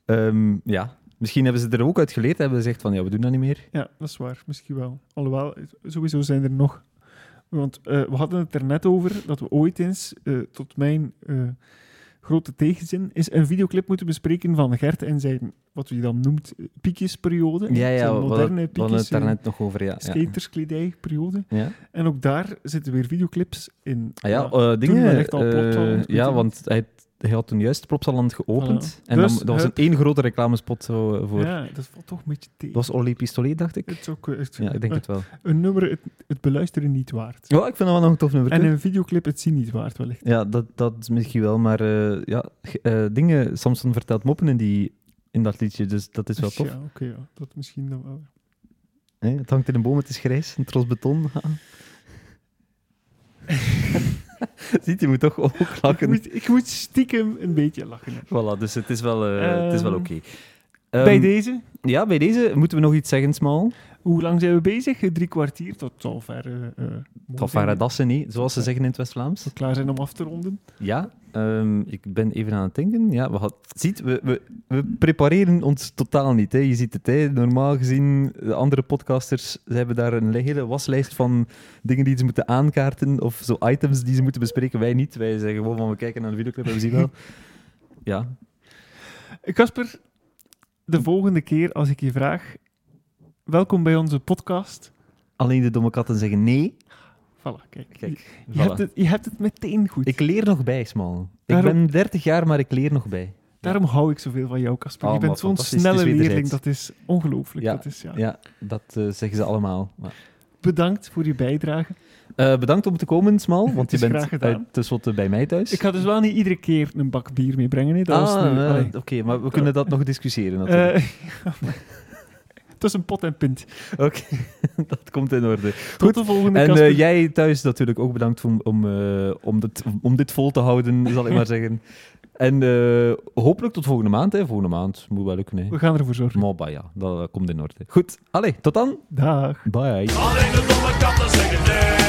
S2: Ehm, ja. Misschien hebben ze er ook uit geleerd. Hebben ze gezegd van, ja, we doen dat niet meer.
S1: Ja, dat is waar. Misschien wel. Alhoewel, eh, sowieso zijn er nog... Want eh, we hadden het er net over dat we ooit eens, eh, tot mijn eh, grote tegenzin, is een videoclip moeten bespreken van Gert en zijn, wat hij dan noemt, eh, piekjesperiode.
S2: Ja,
S1: zijn
S2: ja, we hadden- we
S1: moderne
S2: hadden
S1: piekjes,
S2: het daar
S1: eh,
S2: net nog over, ja. ja.
S1: skaterskledijperiode.
S2: Ja,
S1: En ook daar zitten weer videoclips in.
S2: ah, ja,
S1: Ja.
S2: eh, dingen.
S1: was echt al
S2: eh,
S1: Plopsaland, goed,
S2: ja,
S1: hè?
S2: want hij, hij had toen juist Plopsaland geopend.
S1: Voilà.
S2: En
S1: Dus
S2: dan, dat was een
S1: het-
S2: één grote reclamespot zo, eh, voor...
S1: Ja, dat valt toch een beetje tegen.
S2: Dat was Olly Pistolet, dacht ik.
S1: Het is ook, eh, het-
S2: Ja, ik denk
S1: eh,
S2: het wel.
S1: Een nummer het, het beluisteren niet waard.
S2: Ja, ik vind dat wel nog een tof nummer.
S1: En een videoclip het zien niet waard, wellicht.
S2: Ja, dat, dat is misschien wel, maar eh, ja, ge- eh, dingen, Samson vertelt moppen in, die, in dat liedje, dus dat is wel tof.
S1: Ja, oké, ja. dat misschien dan wel.
S2: Hè, het hangt in een boom, het is grijs, een tros beton. haha. Ziet, je moet toch ook
S1: Ik
S2: lachen.
S1: moet, ik moet stiekem een beetje lachen. hè.
S2: Voilà, dus het is wel, eh, het is wel
S1: Ehm,
S2: oké. Ehm,
S1: Bij deze,
S2: Ja, bij deze moeten we nog iets zeggen, Smal.
S1: hoe lang zijn we bezig? Eh, Drie kwartier tot zal ver. eh, eh, mooi
S2: Tafara
S1: zijn.
S2: dassen niet, zoals ze zeggen in het West-Vlaams.
S1: We klaar zijn om af te ronden.
S2: Ja, ehm, ik ben even aan het denken. Ja, we had, ziet, we, we, we prepareren ons totaal niet. Hè. Je ziet het, hè. normaal gezien, de andere podcasters ze hebben daar een hele waslijst van dingen die ze moeten aankaarten of zo items die ze moeten bespreken. Wij niet. Wij zeggen gewoon van, we kijken naar de videoclip en we zien wel. Ja,
S1: Eh, Casper, de volgende keer als ik je vraag, welkom bij onze podcast.
S2: alleen de domme katten zeggen nee.
S1: Voilà, kijk.
S2: Kijk,
S1: je,
S2: voilà.
S1: je hebt het, je hebt het meteen goed.
S2: Ik leer nog bij, Smal. Ik
S1: Daarom-
S2: ben 30 jaar, maar ik leer nog bij.
S1: Daarom hou ik zoveel van jou, Casper.
S2: Oh,
S1: je bent
S2: maar
S1: zo'n
S2: fantastisch. Het
S1: snelle
S2: is
S1: leerling.
S2: wederzijds.
S1: Dat is ongelooflijk.
S2: Ja,
S1: Dat is, ja.
S2: Ja, dat eh, zeggen ze allemaal. Maar...
S1: Bedankt voor je bijdrage.
S2: Eh, bedankt om te komen, Smal, want je
S1: is
S2: bent
S1: graag gedaan.
S2: uit de zotte bij mij thuis.
S1: Ik ga dus wel niet iedere keer een bak bier meebrengen. hè. Dat was
S2: Ah,
S1: nu,
S2: eh,
S1: allee.
S2: Oké, maar we kunnen dat nog discussiëren natuurlijk.
S1: Eh, Het was een pot en pint.
S2: Oké, dat komt in orde.
S1: Tot
S2: Goed.
S1: de volgende
S2: En
S1: Casper.
S2: eh, jij thuis natuurlijk ook bedankt om, om, eh, om, dit, om dit vol te houden, zal ik maar zeggen. En eh, hopelijk tot volgende maand. Hè. Volgende maand moet wel lukken. Hè.
S1: We gaan ervoor zorgen.
S2: Maar bah, ja, dat eh, komt in orde. Goed, allee, tot dan.
S1: Dag.
S2: Bye.
S3: Alleen de domme katten zeggen nee.